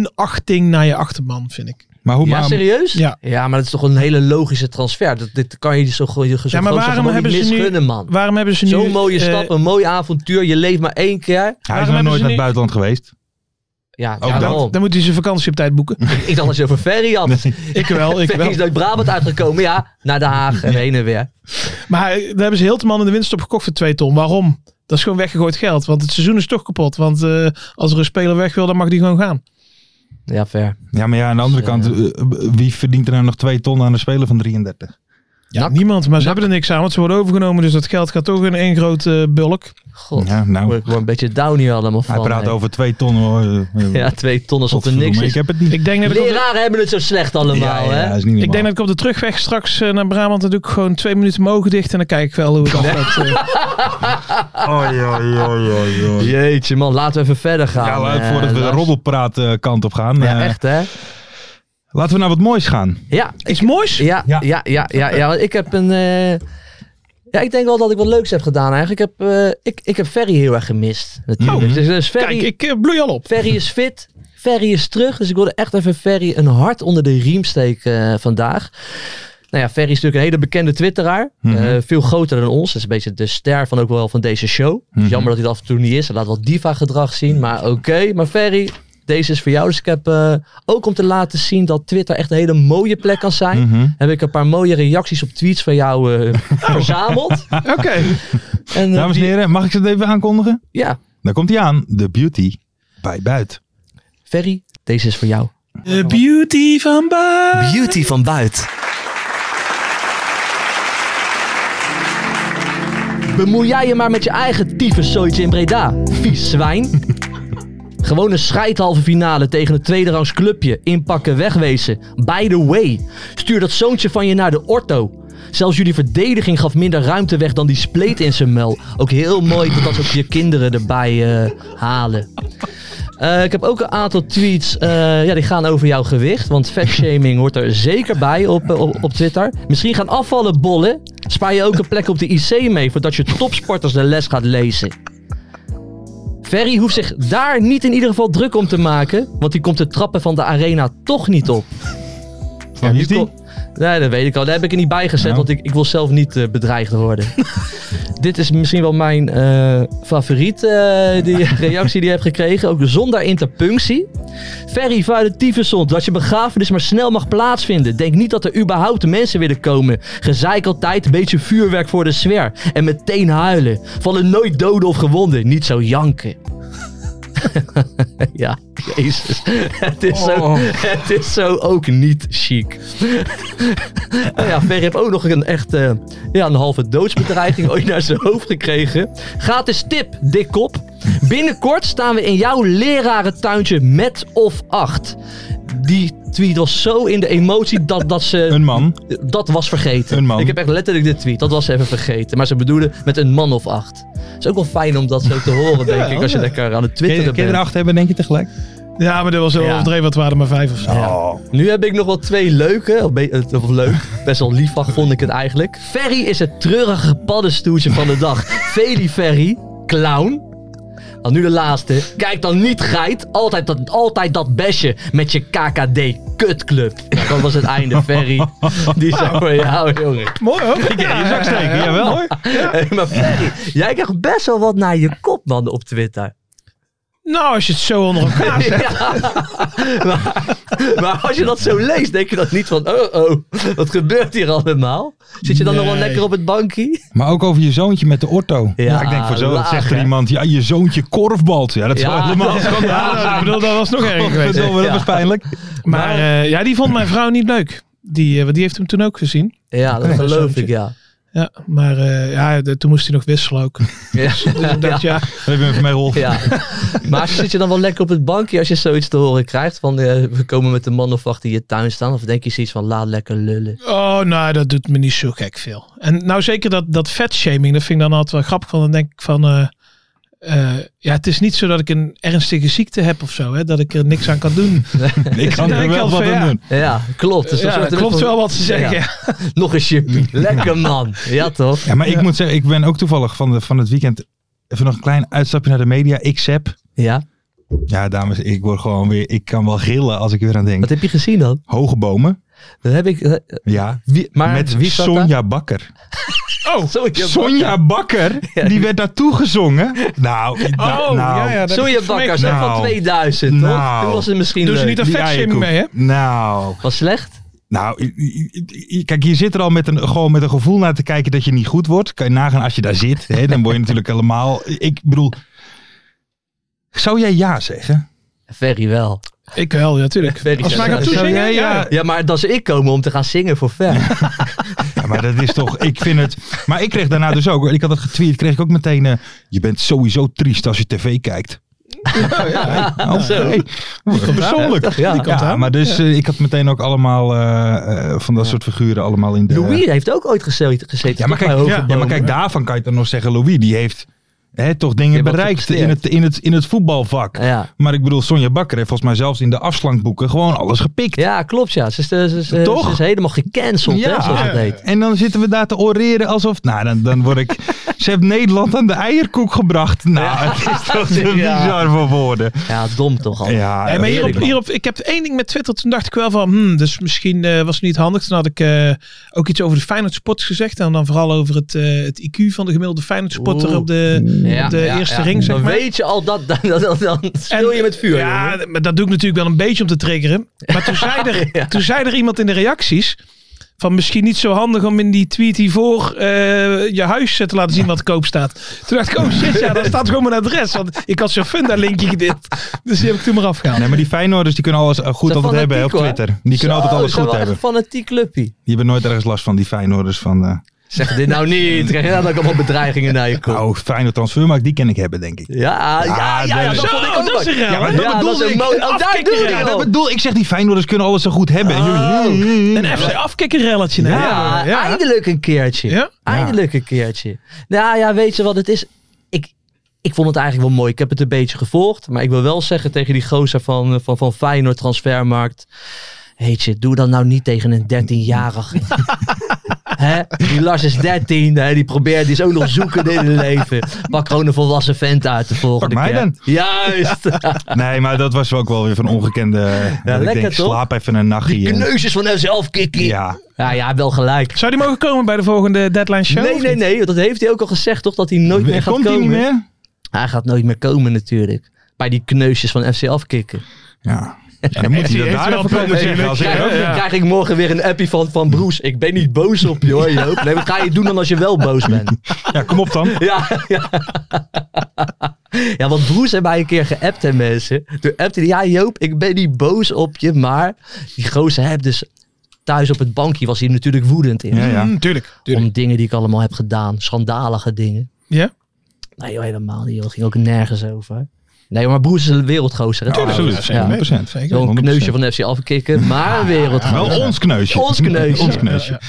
Speaker 5: minachting naar je achterman, vind ik.
Speaker 3: Maar hoe
Speaker 4: Ja,
Speaker 3: maar-
Speaker 4: serieus?
Speaker 5: Ja.
Speaker 4: maar dat is toch een hele logische transfer. Dat, dit kan je zo, zo, zo
Speaker 5: Ja, maar waarom
Speaker 4: gewoon niet
Speaker 5: hebben ze nu-
Speaker 4: misgunnen, man.
Speaker 5: Waarom hebben ze nu...
Speaker 4: Zo'n mooie
Speaker 5: eh,
Speaker 4: stap, een mooi avontuur. Je leeft maar één keer.
Speaker 3: Hij is
Speaker 5: hebben
Speaker 3: nog
Speaker 5: ze
Speaker 3: nooit naar het
Speaker 5: nu-
Speaker 3: buitenland geweest.
Speaker 4: Ja,
Speaker 3: dan-
Speaker 4: ja, daarom.
Speaker 5: dan, dan moet hij zijn vakantie op tijd boeken.
Speaker 4: Ik dacht dat je over Ferry had.
Speaker 5: ik wel, ik
Speaker 4: Ferry
Speaker 5: wel.
Speaker 4: is uit Brabant uitgekomen. Ja, naar Den Haag en heen en weer.
Speaker 5: Maar daar hebben ze heel te man in de winst op gekocht voor 2 ton. Waarom? Dat is gewoon weggegooid geld. Want het seizoen is toch kapot. Want eh, als er een speler weg wil, dan mag die gewoon gaan.
Speaker 4: Ja, ver.
Speaker 3: Ja, maar ja, aan de andere
Speaker 4: Dus,
Speaker 3: kant, eh, eh, wie verdient er nou nog twee ton aan een speler van 33?
Speaker 5: Ja,
Speaker 4: Nak.
Speaker 5: niemand. Maar ze hebben er niks aan, want ze worden overgenomen. Dus dat geld gaat toch in één grote eh, bulk.
Speaker 4: God,
Speaker 3: Ja, nou.
Speaker 4: word ik word een beetje down hier allemaal van.
Speaker 3: Hij praat
Speaker 4: hè.
Speaker 3: over twee ton. Hoor. Eh,
Speaker 4: Ja, twee tonnen alsof er
Speaker 3: godverdomme,
Speaker 4: niks is.
Speaker 3: Ik heb het niet.
Speaker 5: Ik denk dat ik, op de,
Speaker 4: Leraren hebben het zo slecht
Speaker 3: ja,
Speaker 4: allemaal,
Speaker 3: ja,
Speaker 4: hè?
Speaker 3: dat is niet
Speaker 5: ik, denk
Speaker 3: normaal.
Speaker 5: dat ik op de terugweg straks eh, naar Brabant. Dan doe ik gewoon twee minuten mijn ogen dicht. En dan kijk ik wel hoe het afloopt. eh.
Speaker 3: Oei, oei, oei, oei, oei.
Speaker 4: Jeetje man, laten we even verder gaan.
Speaker 3: Ja, laat-
Speaker 4: eh,
Speaker 3: voordat we de
Speaker 4: Lars.
Speaker 3: roddelpraat eh, kant op gaan.
Speaker 4: Ja,
Speaker 3: eh,
Speaker 4: echt hè?
Speaker 3: Laten we naar wat moois gaan.
Speaker 4: Ja,
Speaker 5: Iets moois.
Speaker 4: ja, ja,
Speaker 3: Ja.
Speaker 4: ja, ja, ja, want ik heb een... eh, Ja, ik denk wel dat ik wat leuks heb gedaan eigenlijk. Ik heb, eh, ik, ik heb Ferry heel erg gemist. Natuurlijk.
Speaker 3: Oh.
Speaker 4: dus, dus Ferry,
Speaker 5: Kijk, ik eh, bloei al op.
Speaker 4: Ferry is fit. Ferry is terug. Dus ik wilde echt even Ferry een hart onder de riem steken eh, vandaag. Nou ja, Ferry is natuurlijk een hele bekende twitteraar.
Speaker 3: Mhm.
Speaker 4: Eh, veel groter dan ons. Dat is een beetje de ster van ook wel van deze show. Het is
Speaker 3: Mhm.
Speaker 4: Jammer dat hij dat af en toe niet is. Hij laat wel diva gedrag zien. Maar oké. Maar Ferry, deze is voor jou. Dus ik heb eh, ook om te laten zien dat Twitter echt een hele mooie plek kan zijn.
Speaker 3: Mhm.
Speaker 4: Heb ik een paar mooie reacties op tweets van jou eh, verzameld.
Speaker 5: Oké.
Speaker 4: En, eh,
Speaker 3: Dames en
Speaker 4: die-
Speaker 3: heren, mag ik ze het even aankondigen?
Speaker 4: Ja,
Speaker 3: Daar komt hij aan. De beauty bij Buit.
Speaker 4: Ferry, deze is voor jou.
Speaker 5: De beauty van Ba.
Speaker 4: Beauty van buiten. Bemoei jij je maar met je eigen tyfuszooitje in Breda. Vies zwijn. Gewoon een scheidhalve finale tegen een tweederangs clubje. Inpakken, wegwezen. By the way, stuur dat zoontje van je naar de orto. Zelfs jullie verdediging gaf minder ruimte weg dan die spleet in zijn mel. Ook heel mooi dat dat ook je kinderen erbij eh, halen. Eh, ik heb ook een aantal tweets. eh, ja, die gaan over jouw gewicht. Want fatshaming hoort er zeker bij op, eh, op, op Twitter. Misschien gaan afvallen bollen. Spaar je ook een plek op de IC mee voordat je topsporters de les gaat lezen. Ferry hoeft zich daar niet in ieder geval druk om te maken. Want die komt de trappen van de arena toch niet op.
Speaker 3: Van wie is
Speaker 4: nu
Speaker 3: die?
Speaker 4: ko- Nee, dat weet ik al. Daar heb ik er niet bij gezet,
Speaker 3: Nou.
Speaker 4: want ik, ik wil zelf niet eh, bedreigd worden. Dit is misschien wel mijn eh favoriet, eh, die reactie die je hebt gekregen. Ook zonder interpunctie. Ferry vuile tyfuszond, dat je begrafenis maar snel mag plaatsvinden. Denk niet dat er überhaupt mensen willen komen. Gezeik altijd, een beetje vuurwerk voor de sfeer. En meteen huilen. Vallen nooit doden of gewonden. Niet zo janken. ja, jezus. Het is, zo,
Speaker 3: Oh.
Speaker 4: het is zo ook niet chic. Nou ja, Ferry heeft ook nog een echt eh, ja, een halve doodsbedreiging ooit naar zijn hoofd gekregen. Gratis tip, dik kop. Binnenkort staan we in jouw lerarentuintje met of acht. Die tweet was zo in de emotie dat, dat ze
Speaker 3: Een man.
Speaker 4: dat was vergeten.
Speaker 3: Een man.
Speaker 4: Ik heb echt letterlijk dit tweet. Dat was ze even vergeten. Maar ze bedoelen met een man of acht. is ook wel fijn om dat zo te horen, denk ik. Als je lekker aan het twitteren
Speaker 3: Kinderen
Speaker 4: bent.
Speaker 3: acht hebben, denk je tegelijk?
Speaker 5: Ja, maar dat was wel
Speaker 4: Ja.
Speaker 5: overdreven. Het waren maar vijf of zo.
Speaker 4: Nu heb ik nog wel twee leuke. Of, be- eh, of leuk. Best wel lief van vond ik het eigenlijk. Ferry is het treurige paddenstoeltje van de dag. Feli Ferry. Clown. Dan nu de laatste. Kijk dan niet geit. Altijd dat, altijd dat besje met je KKD kutclub. Nou, dat was het einde, Ferry. Die is er voor jou, jongen.
Speaker 5: Mooi hoor. Ja, ja, ja.
Speaker 3: Jawel.
Speaker 4: Hey, maar Ferry, jij krijgt best wel wat naar je kop, man, op Twitter.
Speaker 5: Nou, als je het zo onder elkaar zet.
Speaker 4: Maar als je dat zo leest, denk je dat niet van, oh oh, wat gebeurt hier allemaal? Zit je dan nog wel
Speaker 5: Nee.
Speaker 4: lekker op het bankje?
Speaker 3: Maar ook over je zoontje met de orto. Ja, ik denk voor zo. Dat
Speaker 4: laag,
Speaker 3: zegt er
Speaker 4: hè?
Speaker 3: iemand. Ja, je zoontje korfbalt. Ja, dat is
Speaker 4: Ja,
Speaker 3: wel helemaal
Speaker 4: dat-
Speaker 3: schandalig.
Speaker 5: Ja, ik bedoel, dat was nog erger geweest.
Speaker 3: Verdomme,
Speaker 4: Ja.
Speaker 3: Dat was pijnlijk.
Speaker 5: Maar eh, ja, die vond mijn vrouw niet leuk. Die, eh, want die heeft hem toen ook gezien.
Speaker 4: Ja, dat
Speaker 5: Oké.
Speaker 4: geloof
Speaker 5: Zoontje.
Speaker 4: ik, ja.
Speaker 5: Ja, maar eh, ja, de- toen moest hij nog wisselen ook. Dus
Speaker 4: Ja.
Speaker 5: Ik dacht, ja.
Speaker 3: Daar heb je me van mij geholpen.
Speaker 4: eh, Ja. Maar zit je dan wel lekker op het bankje als je zoiets te horen krijgt? Van eh, we komen met een man of acht in je tuin staan. Of denk je zoiets van laat lekker lullen.
Speaker 5: Oh, nou, dat doet me niet zo gek veel. En nou, zeker dat, dat vetshaming, dat vind ik dan altijd wel grappig. Want dan denk ik van, eh, eh, ja, het is niet zo dat ik een ernstige ziekte heb of zo. Hè, dat ik er niks aan kan doen.
Speaker 3: Ik kan
Speaker 5: Ja,
Speaker 3: er
Speaker 5: ik
Speaker 3: wel
Speaker 5: had
Speaker 3: wat
Speaker 5: van, ja.
Speaker 3: aan doen.
Speaker 4: Ja, klopt. Dus dan
Speaker 5: ja,
Speaker 4: soort-
Speaker 5: dat klopt wel wat ze zeggen.
Speaker 4: Ja. Nog een chippie. Lekker man. Ja toch?
Speaker 3: Ja, maar ik moet zeggen, ik ben ook toevallig van, de, van het weekend even nog een klein uitstapje naar de media. Ik zap.
Speaker 4: Ja.
Speaker 3: Ja, dames, ik word gewoon weer. Ik kan wel gillen als ik er weer aan denk.
Speaker 4: Wat heb je gezien dan?
Speaker 3: Hoge bomen.
Speaker 4: Dat heb ik... eh,
Speaker 3: Ja.
Speaker 4: Wie, maar
Speaker 3: met
Speaker 4: wie zat daar?
Speaker 3: Sonja Bakker.
Speaker 5: Oh,
Speaker 4: Sonja
Speaker 3: Sonja Bakker, die werd daartoe gezongen. Nou, da-
Speaker 5: oh,
Speaker 3: nou,
Speaker 5: ja, ja. dat
Speaker 4: Sonja
Speaker 5: is voor mij-
Speaker 4: Bakker, zeg van
Speaker 3: Nou.
Speaker 4: 2000, toch?
Speaker 3: Nou.
Speaker 4: Toen was het misschien
Speaker 5: Doen ze
Speaker 4: leuk.
Speaker 5: niet aan
Speaker 3: die
Speaker 5: vetshaming
Speaker 3: eierkoek.
Speaker 5: mee, hè?
Speaker 3: Nou,
Speaker 4: Was slecht?
Speaker 3: nou, i- i- i- kijk, je zit er al met een, gewoon met een gevoel naar te kijken dat je niet goed wordt. Kan je nagaan als je daar zit, hè, dan word je natuurlijk helemaal... Ik bedoel, zou jij ja zeggen?
Speaker 4: Ferry wel.
Speaker 5: Ik wel, ja, natuurlijk.
Speaker 4: Ferry
Speaker 5: Als mij
Speaker 4: zegt-
Speaker 5: gaat toezingen, ja, ja.
Speaker 4: Ja, maar dat ze ik komen om te gaan zingen voor Fer.
Speaker 3: Ja, maar dat is toch, ik vind het... Maar ik kreeg daarna dus ook, ik had het getweet, kreeg ik ook meteen... eh, je bent sowieso triest als je tv kijkt. Oh,
Speaker 4: Zo.
Speaker 3: hey. Persoonlijk.
Speaker 4: Ja. Die
Speaker 5: komt
Speaker 3: Ja,
Speaker 5: aan.
Speaker 3: maar dus eh, ik had meteen ook allemaal eh, eh, van dat soort figuren allemaal in de...
Speaker 4: Louis heeft ook ooit geze- gezeten.
Speaker 3: Ja maar,
Speaker 4: toch,
Speaker 3: kijk,
Speaker 4: bij
Speaker 3: ja,
Speaker 4: Hogerboom?
Speaker 3: ja, maar kijk, daarvan kan je dan nog zeggen, Louis, die heeft hè, toch
Speaker 4: Die
Speaker 3: dingen
Speaker 4: heeft wat
Speaker 3: bereikt in
Speaker 4: gepresteerd.
Speaker 3: het, in, het, in het voetbalvak.
Speaker 4: Ja.
Speaker 3: Maar ik bedoel, Sonja Bakker heeft volgens mij zelfs in de afslankboeken gewoon alles gepikt.
Speaker 4: Ja, klopt ja. Ze is, eh, ze is, eh,
Speaker 3: Toch?
Speaker 4: ze is helemaal gecanceld, hè,
Speaker 3: Ja.
Speaker 4: zoals het heet.
Speaker 3: En dan zitten we daar te oreren alsof, nou dan, dan word ik, ze heeft Nederland aan de eierkoek gebracht. Nou, het is toch te
Speaker 4: Ja.
Speaker 3: bizar voor woorden.
Speaker 4: Ja, dom toch al.
Speaker 3: Ja,
Speaker 5: Nee, maar hierop,
Speaker 4: Heerlijk, man.
Speaker 5: hierop, ik heb één ding met Twitter. Toen dacht ik wel van, hmm, dus misschien eh, was het niet handig. Toen had ik eh, ook iets over de Feyenoord supporters gezegd. En dan vooral over het, eh, het IQ van de gemiddelde Feyenoord supporter
Speaker 4: Oeh.
Speaker 5: op de,
Speaker 4: Ja,
Speaker 5: op de
Speaker 4: ja,
Speaker 5: eerste
Speaker 4: ja.
Speaker 5: ring, zeg
Speaker 4: dan
Speaker 5: maar.
Speaker 4: weet je al dat, dan, dan, dan, dan speel je met vuur,
Speaker 5: Ja,
Speaker 4: jongen.
Speaker 5: maar dat doe ik natuurlijk wel een beetje om te triggeren. Maar toen zei er,
Speaker 4: Ja.
Speaker 5: toen zei er iemand in de reacties... Van misschien niet zo handig om in die tweet hiervoor eh, je huis eh, te laten zien wat te koop staat. Toen dacht ik, oh shit, ja, daar staat gewoon mijn adres. Want ik had zo'n funda-linkje gedit. Dus die heb ik toen maar afgehaald.
Speaker 3: Nee, maar die Feyenoorders die kunnen alles eh, goed
Speaker 4: Zijn
Speaker 3: altijd hebben hè, op
Speaker 4: fanatiek, hoor.
Speaker 3: Twitter. Die kunnen
Speaker 4: Zo,
Speaker 3: altijd alles
Speaker 4: zijn
Speaker 3: goed
Speaker 4: wel echt
Speaker 3: hebben.
Speaker 4: een fanatiek clubpie.
Speaker 3: Die hebben nooit ergens last van die Feyenoorders van, eh
Speaker 4: Zeg dit nou niet. Krijg je nou ook allemaal bedreigingen naar je kop.
Speaker 3: oh, Feyenoord transfermarkt, die ken ik hebben denk ik.
Speaker 4: Ja, ja, ja, ja,
Speaker 3: dat-
Speaker 4: dat vond ik
Speaker 5: Zo,
Speaker 4: ook
Speaker 5: dat is
Speaker 4: leuk.
Speaker 5: een raar,
Speaker 4: Ja, maar
Speaker 5: hè?
Speaker 4: dat
Speaker 3: Ja,
Speaker 4: bedoelde
Speaker 3: dat is
Speaker 4: ik.
Speaker 3: een
Speaker 4: Oh, daar
Speaker 5: afkikker,
Speaker 4: doe
Speaker 5: ja,
Speaker 4: ik
Speaker 3: Ja,
Speaker 4: wel.
Speaker 3: dat bedoel, ik zeg die Feyenoorders kunnen alles zo goed hebben. Oh.
Speaker 5: Een FC afkikkerrelletje. hè?
Speaker 4: Ja,
Speaker 5: ja.
Speaker 4: eindelijk een keertje.
Speaker 5: Ja?
Speaker 4: Eindelijk een keertje. Nou ja, weet je wat het is? Ik, ik vond het eigenlijk wel mooi. Ik heb het een beetje gevolgd. Maar ik wil wel zeggen tegen die gozer van, eh, van, van Feyenoord Transfermarkt. Heet je, doe dat nou niet tegen een 13-jarige. Hè? Die Lars is 13, hè? die probeert, die is ook nog zoekende in het leven. Pak gewoon een volwassen vent uit de volgende
Speaker 3: Pak mij
Speaker 4: keer.
Speaker 3: dan.
Speaker 4: Juist.
Speaker 3: Nee, maar dat was ook wel weer van ongekende... Ja,
Speaker 4: lekker
Speaker 3: denk,
Speaker 4: toch?
Speaker 3: slaap even een nachtje. en-
Speaker 4: Kneusjes van hemzelf, Kiki. Ja.
Speaker 3: Ja,
Speaker 4: ja, wel gelijk.
Speaker 5: Zou die mogen komen bij de volgende Deadline Show?
Speaker 4: Nee,
Speaker 5: of
Speaker 4: nee,
Speaker 5: niet?
Speaker 4: nee. want Dat heeft hij ook al gezegd, toch? Dat hij nooit meer gaat
Speaker 3: komt die
Speaker 4: komen.
Speaker 3: niet meer?
Speaker 4: Hij gaat nooit meer komen, natuurlijk. Bij die kneusjes van FC afkicken.
Speaker 3: Ja. Ja, dan moet
Speaker 5: Heeft
Speaker 3: hij dat
Speaker 5: hij-
Speaker 3: daar
Speaker 5: heeft
Speaker 3: even
Speaker 5: hij wel
Speaker 3: komen zeggen.
Speaker 5: een punt,
Speaker 3: Als ik,
Speaker 4: Krijg,
Speaker 5: ja.
Speaker 4: krijg ik morgen weer een appie van, van Broes. Ik ben niet boos op je hoor, Joop. Nee, wat ga je doen dan als je wel boos bent?
Speaker 3: ja, kom op dan.
Speaker 4: Ja, ja. ja, want Broes heeft mij een keer geappt, hè, mensen. Toen appte hij, ja Joop, ik ben niet boos op je, maar die gozer heb dus thuis op het bankje was hij natuurlijk woedend in.
Speaker 3: Ja, ja.
Speaker 5: Mm, tuurlijk. tuurlijk.
Speaker 4: Om dingen die ik allemaal heb gedaan, schandalige dingen.
Speaker 5: Ja?
Speaker 4: Nee, joh, helemaal niet. joh. Het ging ook nergens over. Nee, maar Broes is een wereldgozer. hè?
Speaker 3: Absoluut.
Speaker 5: ja, zeker.
Speaker 3: 100%.
Speaker 5: Zeker.
Speaker 4: Wel een
Speaker 3: 100%.
Speaker 4: kneusje van FC afkicken, maar een wereldgozer.
Speaker 3: Wel ons kneusje.
Speaker 4: Ons kneusje.
Speaker 3: ons kneusje.
Speaker 5: Wat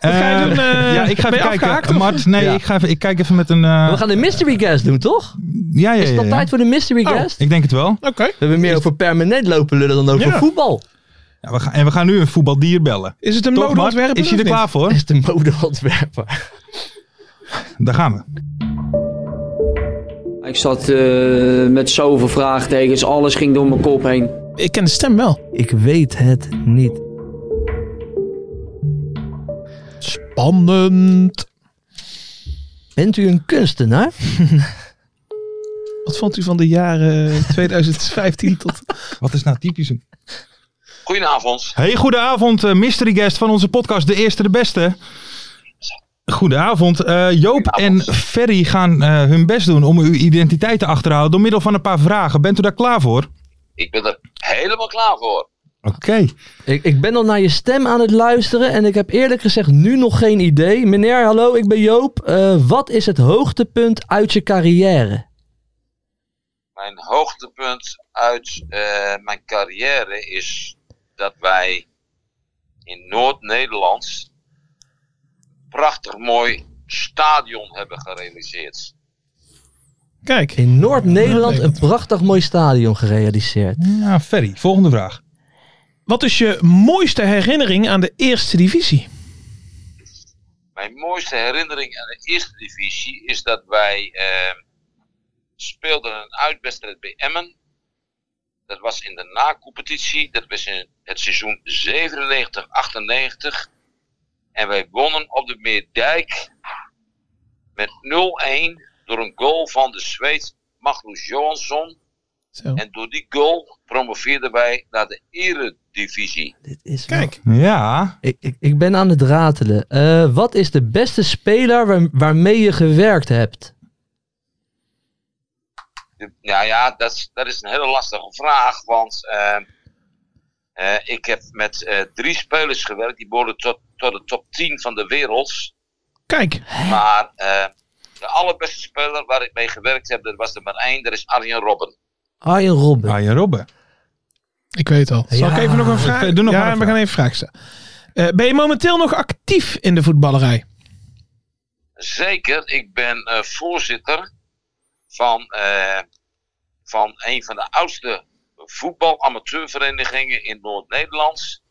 Speaker 5: ga je
Speaker 3: Eh,
Speaker 5: doen? eh,
Speaker 3: ja, ik ga even
Speaker 5: ben je
Speaker 3: kijken.
Speaker 5: afgehaakt, of?
Speaker 3: Mart, nee,
Speaker 4: Ja.
Speaker 3: ik, ga even, ik kijk even met een... eh,
Speaker 4: We gaan de mystery guest doen, toch?
Speaker 3: ja, ja,
Speaker 4: Is het
Speaker 3: ja,
Speaker 4: al
Speaker 3: ja.
Speaker 4: tijd voor de mystery
Speaker 5: Oh.
Speaker 4: guest?
Speaker 3: Ik denk het wel.
Speaker 5: Oké.
Speaker 4: We hebben meer over permanent lopen lullen dan over
Speaker 5: Ja.
Speaker 4: voetbal.
Speaker 3: Ja, we gaan, en we gaan nu een voetbaldier bellen.
Speaker 5: Is het een
Speaker 3: Toch, Mart?
Speaker 5: modeontwerp?
Speaker 3: Is hij er klaar voor?
Speaker 4: Is de modeontwerper.
Speaker 3: Daar gaan we.
Speaker 6: Ik zat eh, met zoveel vraagtekens, alles ging door mijn kop heen.
Speaker 5: Ik ken de stem wel.
Speaker 4: Ik weet het niet.
Speaker 5: Spannend.
Speaker 4: Bent u een kunstenaar?
Speaker 5: Wat vond u van de jaren
Speaker 3: eh,
Speaker 5: 2015 tot...
Speaker 3: Wat is nou typisch een...
Speaker 7: Goedenavond.
Speaker 3: Hey, goedenavond, eh, mystery guest van onze podcast De Eerste de Beste. Goedenavond. Eh, Joop en Ferry gaan eh, hun best doen om uw identiteit te achterhalen door middel van een paar vragen. Bent u daar klaar voor?
Speaker 7: Ik ben er helemaal klaar voor.
Speaker 3: Oké.
Speaker 4: Ik, ik ben al naar je stem aan het luisteren en ik heb eerlijk gezegd nu nog geen idee. Meneer, hallo, ik ben Joop. Eh, wat is het hoogtepunt uit je carrière?
Speaker 7: Mijn hoogtepunt uit eh, mijn carrière is dat wij in Noord-Nederland een prachtig mooi stadion hebben gerealiseerd.
Speaker 5: Kijk.
Speaker 4: In Noord-Nederland een prachtig mooi stadion gerealiseerd.
Speaker 3: Ja, Ferry, volgende vraag.
Speaker 5: Wat is je mooiste herinnering aan de eerste divisie?
Speaker 7: Mijn mooiste herinnering aan de eerste divisie is dat wij eh, speelden een uitwedstrijd bij Emmen. Dat was in de na-competitie. Dat was in het seizoen 97-98. En wij wonnen op de Meerdijk met 0-1 door een goal van de Zweed Magnus Johansson.
Speaker 5: Zo.
Speaker 7: En door die goal promoveerden wij naar de Eredivisie.
Speaker 4: Dit is wel-
Speaker 5: Kijk.
Speaker 3: Ja.
Speaker 4: Ik, ik, ik ben aan het ratelen. Eh, wat is de beste speler waar- waarmee je gewerkt hebt?
Speaker 7: De- Nou ja, dat is, dat is een hele lastige vraag. Want eh, eh, ik heb met eh, drie spelers gewerkt. Die behoren tot, tot de top 10 van de wereld.
Speaker 5: Kijk.
Speaker 7: Maar eh, de allerbeste speler waar ik mee gewerkt heb, dat was de maar één. Dat is Arjen Robben.
Speaker 4: Arjen Robben.
Speaker 3: Arjen Robben.
Speaker 5: Ik weet al. Zal
Speaker 4: Ja.
Speaker 5: ik even nog een vraag?
Speaker 3: Oké, doe nog
Speaker 5: ja,
Speaker 3: maar een
Speaker 5: we gaan even vragen stellen. Eh, ben je momenteel nog actief in de voetballerij?
Speaker 7: Zeker, ik ben eh, voorzitter van, eh, van een van de oudste voetbalamateurverenigingen in Noord-Nederland.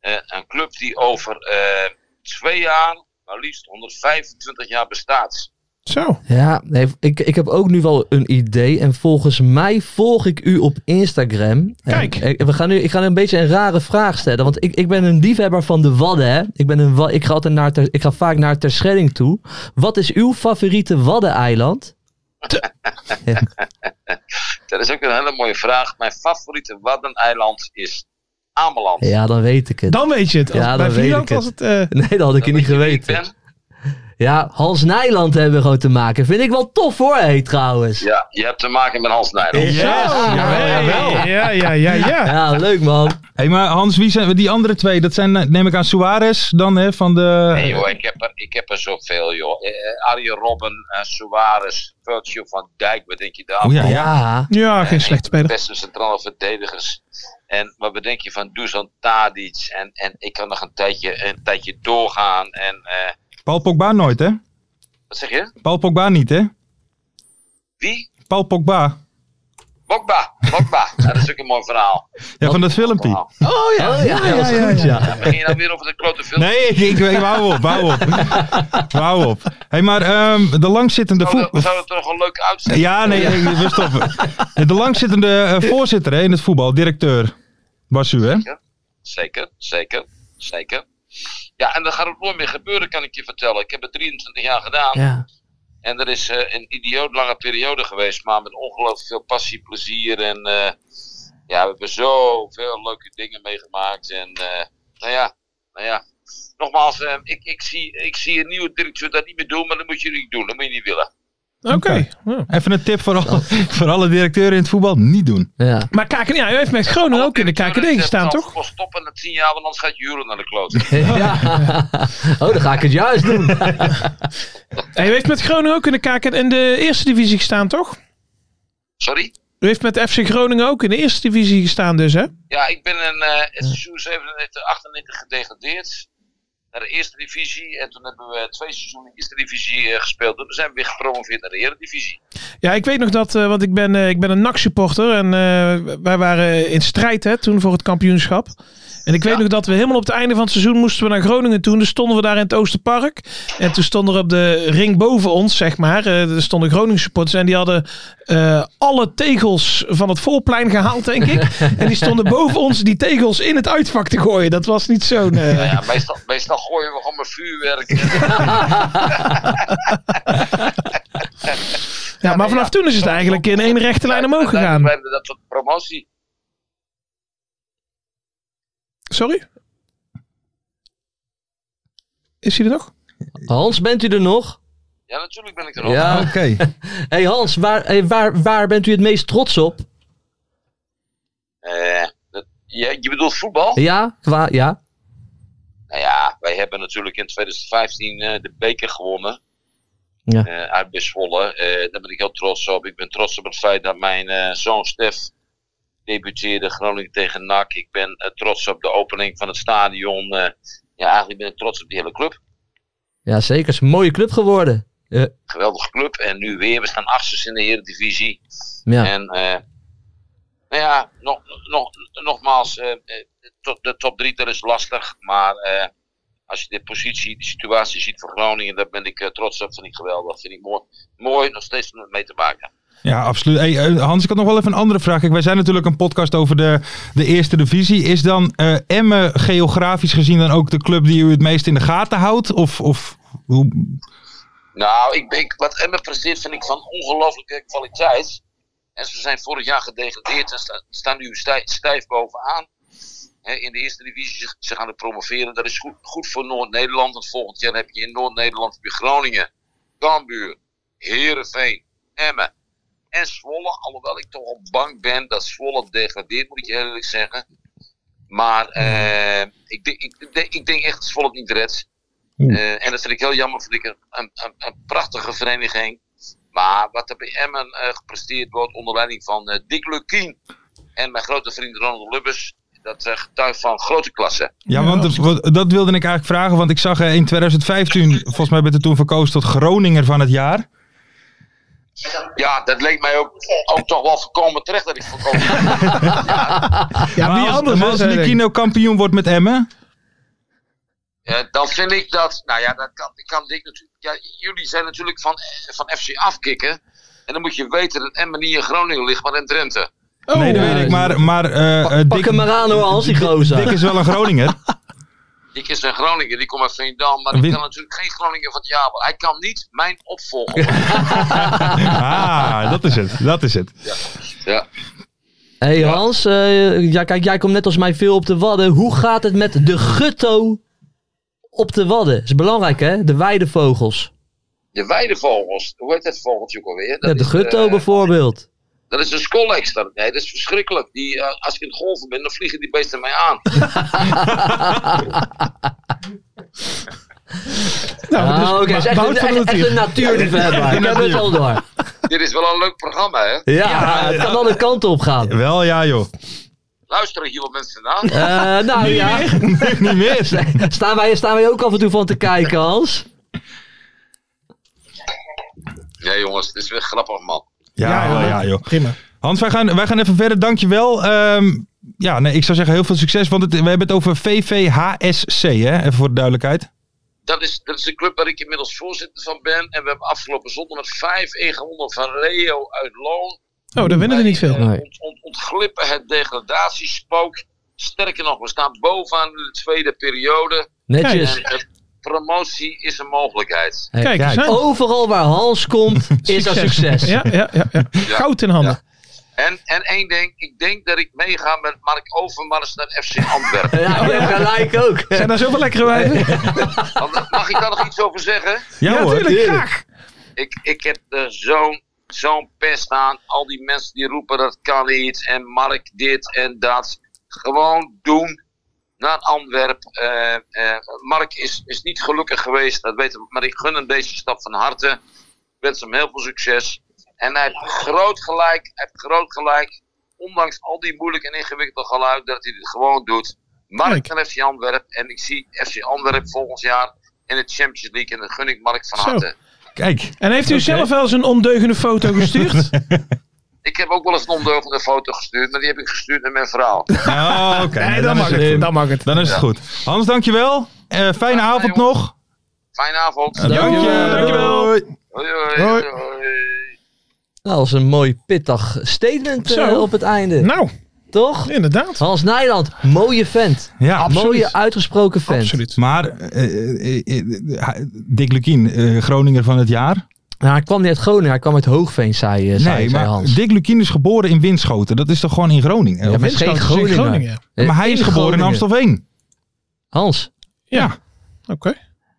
Speaker 7: Eh, een club die over eh, twee jaar, maar liefst 125 jaar bestaat.
Speaker 5: Zo.
Speaker 4: Ja, nee, ik, ik heb ook nu wel een idee. En volgens mij volg ik u op Instagram.
Speaker 5: Kijk.
Speaker 4: En, eh, we gaan nu, ik ga nu een beetje een rare vraag stellen. Want ik, ik ben een liefhebber van de Wadden. Hè? Ik, ben een, wa- ik, ga altijd naar ter, ik ga vaak naar Terschelling toe. Wat is uw favoriete Waddeneiland?
Speaker 7: Dat is ook een hele mooie vraag. Mijn favoriete waddeneiland is Ameland.
Speaker 4: Ja, dan weet ik het.
Speaker 5: Dan weet je het. Als,
Speaker 4: Ja, dan
Speaker 5: bij
Speaker 4: weet
Speaker 5: Vlieland
Speaker 4: ik het.
Speaker 5: was het... eh,
Speaker 4: Nee, dat had ik je
Speaker 7: Weet
Speaker 4: niet
Speaker 7: je wie ik
Speaker 4: geweten.
Speaker 7: ben?
Speaker 4: Ja, Hans Nijland hebben we gewoon te maken. Vind ik wel tof hoor, hé, trouwens.
Speaker 7: Ja, je hebt te maken met Hans Nijland.
Speaker 4: Yes.
Speaker 5: zo.
Speaker 4: Ja,
Speaker 5: ja,
Speaker 4: jawel.
Speaker 5: ja, ja, ja, Oh, ja.
Speaker 4: Ja, leuk man.
Speaker 3: Hé, hey, maar Hans, wie zijn die andere twee? Dat zijn, eh, neem ik aan, Suarez dan, hè, van de...
Speaker 7: Nee joh, ik heb er, ik heb er zoveel joh. Eh, eh, Arjen Robben, eh, Suarez, Virgil van Dijk, wat denk je daar?
Speaker 3: Oh, ja.
Speaker 4: Ja.
Speaker 5: Ja, geen
Speaker 7: slecht
Speaker 5: slechte speler.
Speaker 7: Beste centrale verdedigers. En wat bedenk je van Dusan Tadic? En, en ik kan nog een tijdje, een tijdje doorgaan. En eh,
Speaker 3: Paul Pogba nooit, hè?
Speaker 7: wat zeg je?
Speaker 3: Paul Pogba niet, hè?
Speaker 7: Wie?
Speaker 3: Paul Pogba.
Speaker 7: Bokba, Bokba. Ja, dat is ook een mooi verhaal.
Speaker 3: Ja, van dat filmpje.
Speaker 7: Verhaal.
Speaker 5: Oh ja,
Speaker 4: Oh ja,
Speaker 5: ja, ja, ja, ja.
Speaker 7: Dan Begin je dan weer over de klote film?
Speaker 3: Nee, ik, ik, ik wou op, wou op. wou op. hey, maar ehm, de langzittende
Speaker 7: Zou
Speaker 3: voet...
Speaker 7: dat, zou dat toch een leuk uitzending
Speaker 3: Ja, nee, nee, we stoppen. De langzittende eh, voorzitter hè, in het voetbal, directeur, was u, hè?
Speaker 7: Zeker, zeker, zeker. Ja, en dat gaat ook nooit meer gebeuren, kan ik je vertellen. Ik heb het 23 jaar gedaan.
Speaker 4: Ja.
Speaker 7: En er is eh, een idioot lange periode geweest, maar met ongelooflijk veel passie, plezier. En eh, ja, we hebben zoveel leuke dingen meegemaakt. En eh, nou ja, nou ja. Nogmaals, eh, ik, ik, zie, ik zie een nieuwe directeur dat niet meer doen, maar dat moet je niet doen. Dat moet je niet willen.
Speaker 5: Oké. Ja.
Speaker 3: Even een tip voor alle, voor alle directeuren in het voetbal, niet doen.
Speaker 4: Ja.
Speaker 5: Maar KKD, ja, u heeft met Groningen nou, ook in de KKD gestaan, toch?
Speaker 7: Stop stoppen na 10 jaar, want anders gaat Juren naar de klote.
Speaker 4: Ja. Oh, dan ga ik het juist doen.
Speaker 5: Hij heeft met Groningen ook in de KKD en de eerste divisie gestaan, toch?
Speaker 7: Sorry?
Speaker 5: U heeft met FC Groningen ook in de eerste divisie gestaan, dus hè?
Speaker 7: Ja, ik ben in eh, het seizoen 97, 98 gedegradeerd naar de eerste divisie. En toen hebben we twee seizoenen eerste divisie eh, gespeeld. En toen zijn we weer gepromoveerd naar de eredivisie.
Speaker 5: Ja, ik weet nog dat, eh, want ik ben, eh, ik ben een NAC-supporter en eh, wij waren in strijd hè, toen voor het kampioenschap. En ik weet nog dat we helemaal op het einde van het seizoen moesten we naar Groningen toe. En toen stonden we daar in het Oosterpark. En toen stond er op de ring boven ons, zeg maar, eh, er stonden Groningen supporters. En die hadden eh, alle tegels van het voorplein gehaald, denk ik. en die stonden boven ons die tegels in het uitvak te gooien. Dat was niet zo'n... eh,
Speaker 7: Nou ja, meestal, meestal gooien we gewoon met vuurwerk. ja,
Speaker 5: ja, maar vanaf toen is het eigenlijk in één rechte lijn omhoog
Speaker 7: We
Speaker 5: gegaan.
Speaker 7: hebben dat tot promotie.
Speaker 5: Sorry? Is hij er nog?
Speaker 4: Hans, bent u er nog?
Speaker 7: Ja, natuurlijk ben ik er nog.
Speaker 4: Ja.
Speaker 3: Oké.
Speaker 4: hey Hans, waar, hey, waar, waar bent u het meest trots op?
Speaker 7: Eh, dat- je, je bedoelt voetbal?
Speaker 4: Ja, qua, ja.
Speaker 7: Nou ja, wij hebben natuurlijk in 2015 eh, de beker gewonnen.
Speaker 4: Ja.
Speaker 7: Eh, uit bij Zwolle. Eh, daar ben ik heel trots op. Ik ben trots op het feit dat mijn eh, zoon Stef debuteerde Groningen tegen NAC. Ik ben eh, trots op de opening van het stadion. Eh, ja, eigenlijk ben ik trots op die hele club.
Speaker 4: Ja, zeker. Het is een mooie club geworden.
Speaker 7: Geweldige club. En nu weer. We staan achters in de Eredivisie.
Speaker 4: Ja.
Speaker 7: En eh, nou ja, nog, nog, nogmaals, eh, eh, tot- de top 3 dat is lastig. Maar eh, als je de positie, de situatie ziet van Groningen, daar ben ik eh, trots op. Vind ik geweldig. Vind ik mooi, mooi nog steeds om het mee te maken.
Speaker 3: Ja, absoluut. Hey, eh, Hans, ik had nog wel even een andere vraag. Kijk, wij zijn natuurlijk een podcast over de, de eerste divisie. Is dan eh Emmen geografisch gezien dan ook de club die u het meest in de gaten houdt? Of, of hoe?
Speaker 7: Nou, ik ben, wat Emmen presteert vind ik van ongelooflijke kwaliteit. En ze zijn vorig jaar gedegradeerd en sta- staan nu stij- stijf bovenaan. Hè, in de eerste divisie, ze- ze gaan er promoveren. Dat is goed, goed voor Noord-Nederland. Want volgend jaar heb je in Noord-Nederland heb je Groningen, Cambuur, Heerenveen, Emmen en Zwolle. Alhoewel ik toch al bang ben dat Zwolle degradeert, moet ik je eerlijk zeggen. Maar eh, ik, denk, ik, denk- ik denk echt dat Zwolle het niet redt. Eh, en dat vind ik heel jammer, vind ik een, een, een, een prachtige vereniging. Maar wat er bij Emmen eh, gepresteerd wordt onder leiding van eh, Dick Lukien en mijn grote vriend Ronald Lubbers, dat eh, getuigt van grote klasse.
Speaker 3: Ja, want de- wat- dat wilde ik eigenlijk vragen. Want ik zag eh, in 2015, volgens mij bent u toen verkozen tot Groninger van het jaar.
Speaker 7: Ja, dat leek mij ook, ook toch wel voorkomen terecht dat ik voorkomen.
Speaker 5: Ja,
Speaker 3: maar
Speaker 5: wie
Speaker 3: als,
Speaker 5: anders?
Speaker 3: maar
Speaker 5: hè,
Speaker 3: als
Speaker 5: zei ik.
Speaker 3: Nikino kampioen wordt met Emmen?
Speaker 7: Eh, dan vind ik dat, nou ja, dat kan, kan Dick natuurlijk. Ja, jullie zijn natuurlijk van, eh, van FC afkikken. En dan moet je weten dat Emmen niet in Groningen ligt, maar in Drenthe.
Speaker 5: Oh,
Speaker 3: nee, dat weet ik. Maar, maar eh, eh,
Speaker 4: Pak
Speaker 3: Dick,
Speaker 4: hem maar aan hoor, Hans, die gozer.
Speaker 3: Dick is wel een Groninger.
Speaker 7: Ik is een Groningen, die komt uit Veendam, maar die
Speaker 3: Win-
Speaker 7: kan natuurlijk geen Groningen van het jaar worden. Hij kan niet mijn opvolger worden.
Speaker 3: ah, dat is het. Dat is het.
Speaker 7: Ja.
Speaker 4: hey Hans, eh, ja, kijk, jij komt net als mij veel op de Wadden. Hoe gaat het met de gutto op de Wadden? Dat is belangrijk hè, de weidevogels.
Speaker 7: De weidevogels, hoe heet dat vogeltje ook alweer?
Speaker 4: Ja,
Speaker 7: Dat
Speaker 4: de
Speaker 7: is,
Speaker 4: gutto
Speaker 7: eh,
Speaker 4: bijvoorbeeld.
Speaker 7: dat is een skollex. Dat, nee, dat is verschrikkelijk. Die, eh, als ik in het golven ben, dan vliegen die beesten mij aan.
Speaker 5: Nou,
Speaker 4: Ah,
Speaker 5: dus
Speaker 4: oké, het is echt,
Speaker 5: Wout
Speaker 4: een-
Speaker 5: van
Speaker 4: echt, echt
Speaker 5: Roetier.
Speaker 4: een natuurliefhebber. Ik heb het al door.
Speaker 7: Dit is wel een leuk programma, hè?
Speaker 4: Ja, het kan alle kanten op gaan.
Speaker 3: Wel oh ja, joh.
Speaker 7: Luisteren hier wat mensen naar.
Speaker 4: Eh, nou ja,
Speaker 3: Niet meer.
Speaker 4: staan wij, staan wij ook af en toe van te kijken, Hans?
Speaker 7: Nee, jongens, dit is weer grappig, man.
Speaker 3: Ja,
Speaker 5: Ja,
Speaker 3: wel
Speaker 5: ja.
Speaker 3: ja, joh.
Speaker 5: Prima.
Speaker 3: Hans, wij gaan, wij gaan even verder. Dankjewel. Ehm ja, nee, ik zou zeggen heel veel succes. Want het, we hebben het over VVHSC, hè? Even voor de duidelijkheid.
Speaker 7: Dat is, dat is de club waar ik inmiddels voorzitter van ben. En we hebben afgelopen zondag met 5-1 gewonnen van Leo uit Loon.
Speaker 5: Oh, daar winnen er niet veel.
Speaker 7: Wij, eh,
Speaker 4: Nee.
Speaker 7: ont- ont- ontglippen het degradatiespook. Sterker nog, we staan bovenaan in de tweede periode.
Speaker 4: Netjes.
Speaker 7: En eh, promotie is een mogelijkheid.
Speaker 4: Hey,
Speaker 5: Kijk, eens aan.
Speaker 4: Overal waar Hans komt, is dat succes.
Speaker 5: Ja, ja, ja, ja. Goud in handen.
Speaker 7: En, en één ding, ik denk dat ik meega met Mark Overmars naar FC Antwerpen.
Speaker 4: Ja, ik heb gelijk ook.
Speaker 5: Zijn daar zoveel lekkere wijven?
Speaker 7: Want, Mag ik daar nog iets over zeggen?
Speaker 3: Ja, hoor.
Speaker 5: natuurlijk, graag.
Speaker 7: Ik, ik heb er zo'n zo'n pest aan. Al die mensen die roepen dat kan niet. En Mark dit en dat. Gewoon doen. Naar Antwerpen. Eh, eh, Mark is, is niet gelukkig geweest. Dat weet ik. Maar ik gun hem deze stap van harte. Ik wens hem heel veel succes. En hij heeft groot gelijk. Hij heeft groot gelijk. Ondanks al die moeilijk en ingewikkelde geluid. Dat hij het gewoon doet. Mark
Speaker 5: Kijk.
Speaker 7: naar FC Antwerpen. En ik zie FC Antwerpen volgend jaar in de Champions League. En dat gun ik Mark van
Speaker 5: Zo.
Speaker 7: harte.
Speaker 3: Kijk.
Speaker 5: En heeft u zelf wel eens een ondeugende foto gestuurd?
Speaker 7: Ik heb ook wel eens een ondeugende foto gestuurd, maar die heb ik gestuurd naar mijn vrouw.
Speaker 3: Oh, oké.
Speaker 5: Nee,
Speaker 3: dan,
Speaker 5: dan mag
Speaker 3: is het,
Speaker 5: het. Dan mag het.
Speaker 3: dan is het goed. Hans, dankjewel. Eh fijne
Speaker 7: Ja,
Speaker 3: avond
Speaker 7: jongen.
Speaker 3: nog.
Speaker 7: Fijne avond.
Speaker 4: Dankjewel.
Speaker 3: Dank je.
Speaker 5: Dankjewel.
Speaker 3: Doei.
Speaker 7: Hoi, hoi,
Speaker 3: Hoi.
Speaker 7: hoi.
Speaker 4: Nou, dat is een mooi pittig statement eh,
Speaker 5: Zo.
Speaker 4: op het einde.
Speaker 5: Nou,
Speaker 4: Toch?
Speaker 5: inderdaad.
Speaker 4: Hans Nijland, mooie vent.
Speaker 3: Ja,
Speaker 4: Mooie uitgesproken vent.
Speaker 5: Absoluut.
Speaker 3: Maar eh, eh, eh, eh, Dick Lukien, eh, Groninger van het jaar.
Speaker 4: Nou, hij kwam niet uit Groningen, hij kwam uit Hoogveen, zei, eh, zei, zei
Speaker 3: maar
Speaker 4: Hans.
Speaker 3: Dick Lukien is geboren in Winschoten. Dat is toch gewoon in Groningen?
Speaker 4: Ja,
Speaker 3: Of-
Speaker 4: maar het is geen
Speaker 5: Groningen.
Speaker 4: Groninger.
Speaker 5: Groningen.
Speaker 4: Eh,
Speaker 3: maar hij is geboren in
Speaker 4: Groningen.
Speaker 3: Amstelveen.
Speaker 4: Hans,
Speaker 5: Ja. Oké.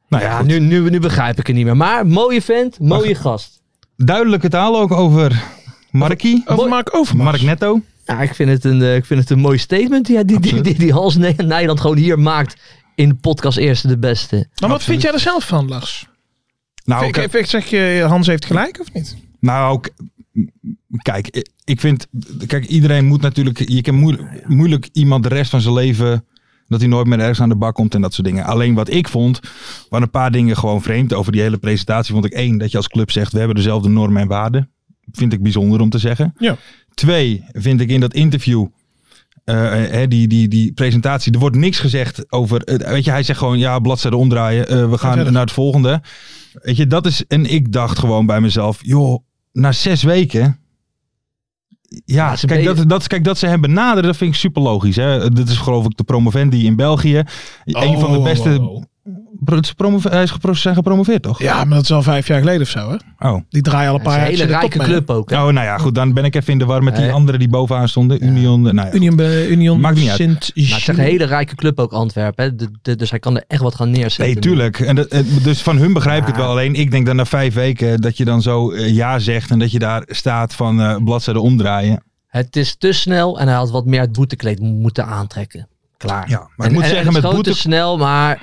Speaker 3: Nou ja,
Speaker 4: ja, nu, nu, nu begrijp ik het niet meer. Maar mooie vent, mooie gast.
Speaker 3: duidelijke taal ook over Markie.
Speaker 5: Over Mark Overmars.
Speaker 3: Mark Netto.
Speaker 4: Ja, ik, vind het een, eh, ik vind het een mooi statement die, die, die, die, die Hans Nij- Nijland gewoon hier maakt in de podcast Eerste de Beste.
Speaker 5: Maar wat vind jij er zelf van, Lars?
Speaker 3: Nou,
Speaker 5: Ik-
Speaker 3: oké.
Speaker 5: ik- ik zeg je, Hans heeft gelijk of niet?
Speaker 3: Nou, ook- kijk, ik- ik vind, kijk, iedereen moet natuurlijk, je kan moeilijk, moeilijk iemand de rest van zijn leven, dat hij nooit meer ergens aan de bak komt en dat soort dingen. Alleen wat ik vond, waren een paar dingen gewoon vreemd. Over die hele presentatie vond ik één, dat je als club zegt, we hebben dezelfde normen en waarden. Vind ik bijzonder om te zeggen.
Speaker 5: Ja.
Speaker 3: Twee, vind ik in dat interview, eh, hè, die, die, die presentatie, er wordt niks gezegd over, eh, weet je, hij zegt gewoon, ja, bladzijde omdraaien, eh, we gaan
Speaker 5: verder.
Speaker 3: naar het volgende. Weet je, dat is, en ik dacht gewoon bij mezelf, joh, na zes weken. Ja,
Speaker 4: Ja, ze
Speaker 3: kijk,
Speaker 4: ben-
Speaker 3: dat, dat, kijk, dat ze hem benaderen, dat vind ik super logisch. Hè? Dit is geloof ik de promovendi in België. een van de
Speaker 5: Oh,
Speaker 3: beste.
Speaker 5: oh, oh.
Speaker 3: Pro- het is promove- hij is gepro- zijn gepromoveerd, toch?
Speaker 5: Ja, maar dat is al vijf jaar geleden of zo, hè?
Speaker 3: Oh.
Speaker 5: Die draaien al een
Speaker 4: Het is
Speaker 5: paar
Speaker 4: een
Speaker 5: jaar.
Speaker 4: hele
Speaker 5: zitten top
Speaker 4: rijke
Speaker 5: mee.
Speaker 4: club ook. hè.
Speaker 3: oh, nou ja, goed. Dan ben ik even in de war met die
Speaker 4: Nee.
Speaker 3: anderen die bovenaan stonden. Union. Nou ja.
Speaker 5: Union, eh, Union
Speaker 3: Maakt niet uit.
Speaker 5: Sint
Speaker 4: Maar het is echt Nou, een hele rijke club ook, Antwerpen. Hè? De- de- dus hij kan er echt wat gaan neerzetten.
Speaker 3: Nee, tuurlijk. En dat, eh, dus van hun begrijp ik het
Speaker 4: Ja.
Speaker 3: wel. Alleen ik denk dat na vijf weken dat je dan zo eh, ja zegt en dat je daar staat van eh bladzijde omdraaien.
Speaker 4: Het is te snel en hij had wat meer het boetekleed mo- moeten aantrekken. Klaar.
Speaker 3: Ja, maar ik moet zeggen,
Speaker 4: het is
Speaker 3: met
Speaker 4: gewoon
Speaker 3: boete-
Speaker 4: te snel, maar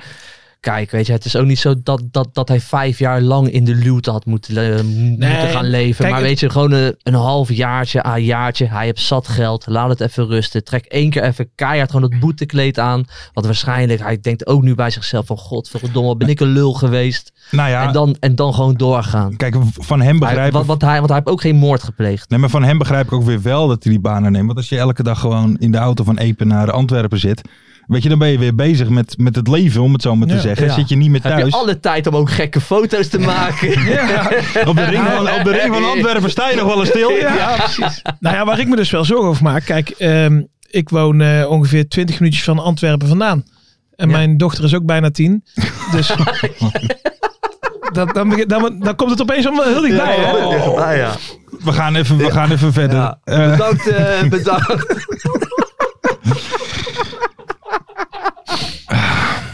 Speaker 4: kijk, weet je, het is ook niet zo dat, dat, dat hij vijf jaar lang in de luwte had moeten, le- moeten gaan leven.
Speaker 5: kijk,
Speaker 4: maar
Speaker 5: het-
Speaker 4: weet je, gewoon een, een half jaartje, een jaartje, hij heeft zat geld, laat het even rusten. Trek één keer even keihard gewoon dat boetekleed aan. Want waarschijnlijk, hij denkt ook nu bij zichzelf van, godverdomme, ben ik een lul geweest?
Speaker 3: Nou ja,
Speaker 4: En, dan, en dan gewoon doorgaan.
Speaker 3: kijk, van hem
Speaker 4: Hij,
Speaker 3: begrijp ik
Speaker 4: want, want hij, want hij heeft ook geen moord gepleegd.
Speaker 3: Nee, maar van hem begrijp ik ook weer wel dat hij die banen neemt. Want als je elke dag gewoon in de auto van Epen naar Antwerpen zit. Weet je, dan ben je weer bezig met, met het leven, om het zo maar te
Speaker 5: Ja.
Speaker 3: zeggen.
Speaker 4: Ja.
Speaker 3: Zit je niet meer
Speaker 4: Heb je
Speaker 3: thuis.
Speaker 4: alle tijd om ook gekke foto's te maken?
Speaker 3: Op, de ring van, op de ring van Antwerpen sta je nog wel eens stil. Ja.
Speaker 5: Ja, precies. Nou ja, waar ik me dus wel zorgen over maak. Kijk, ehm, ik woon eh, ongeveer 20 minuutjes van Antwerpen vandaan. En
Speaker 4: Ja.
Speaker 5: mijn dochter is ook bijna tien. Dus dat, dan, begin- dan, dan komt het opeens allemaal heel dichtbij. hè?
Speaker 4: Ah, ja.
Speaker 3: We gaan even, we gaan even verder.
Speaker 4: Ja.
Speaker 3: Eh,
Speaker 4: Bedankt, eh, bedankt.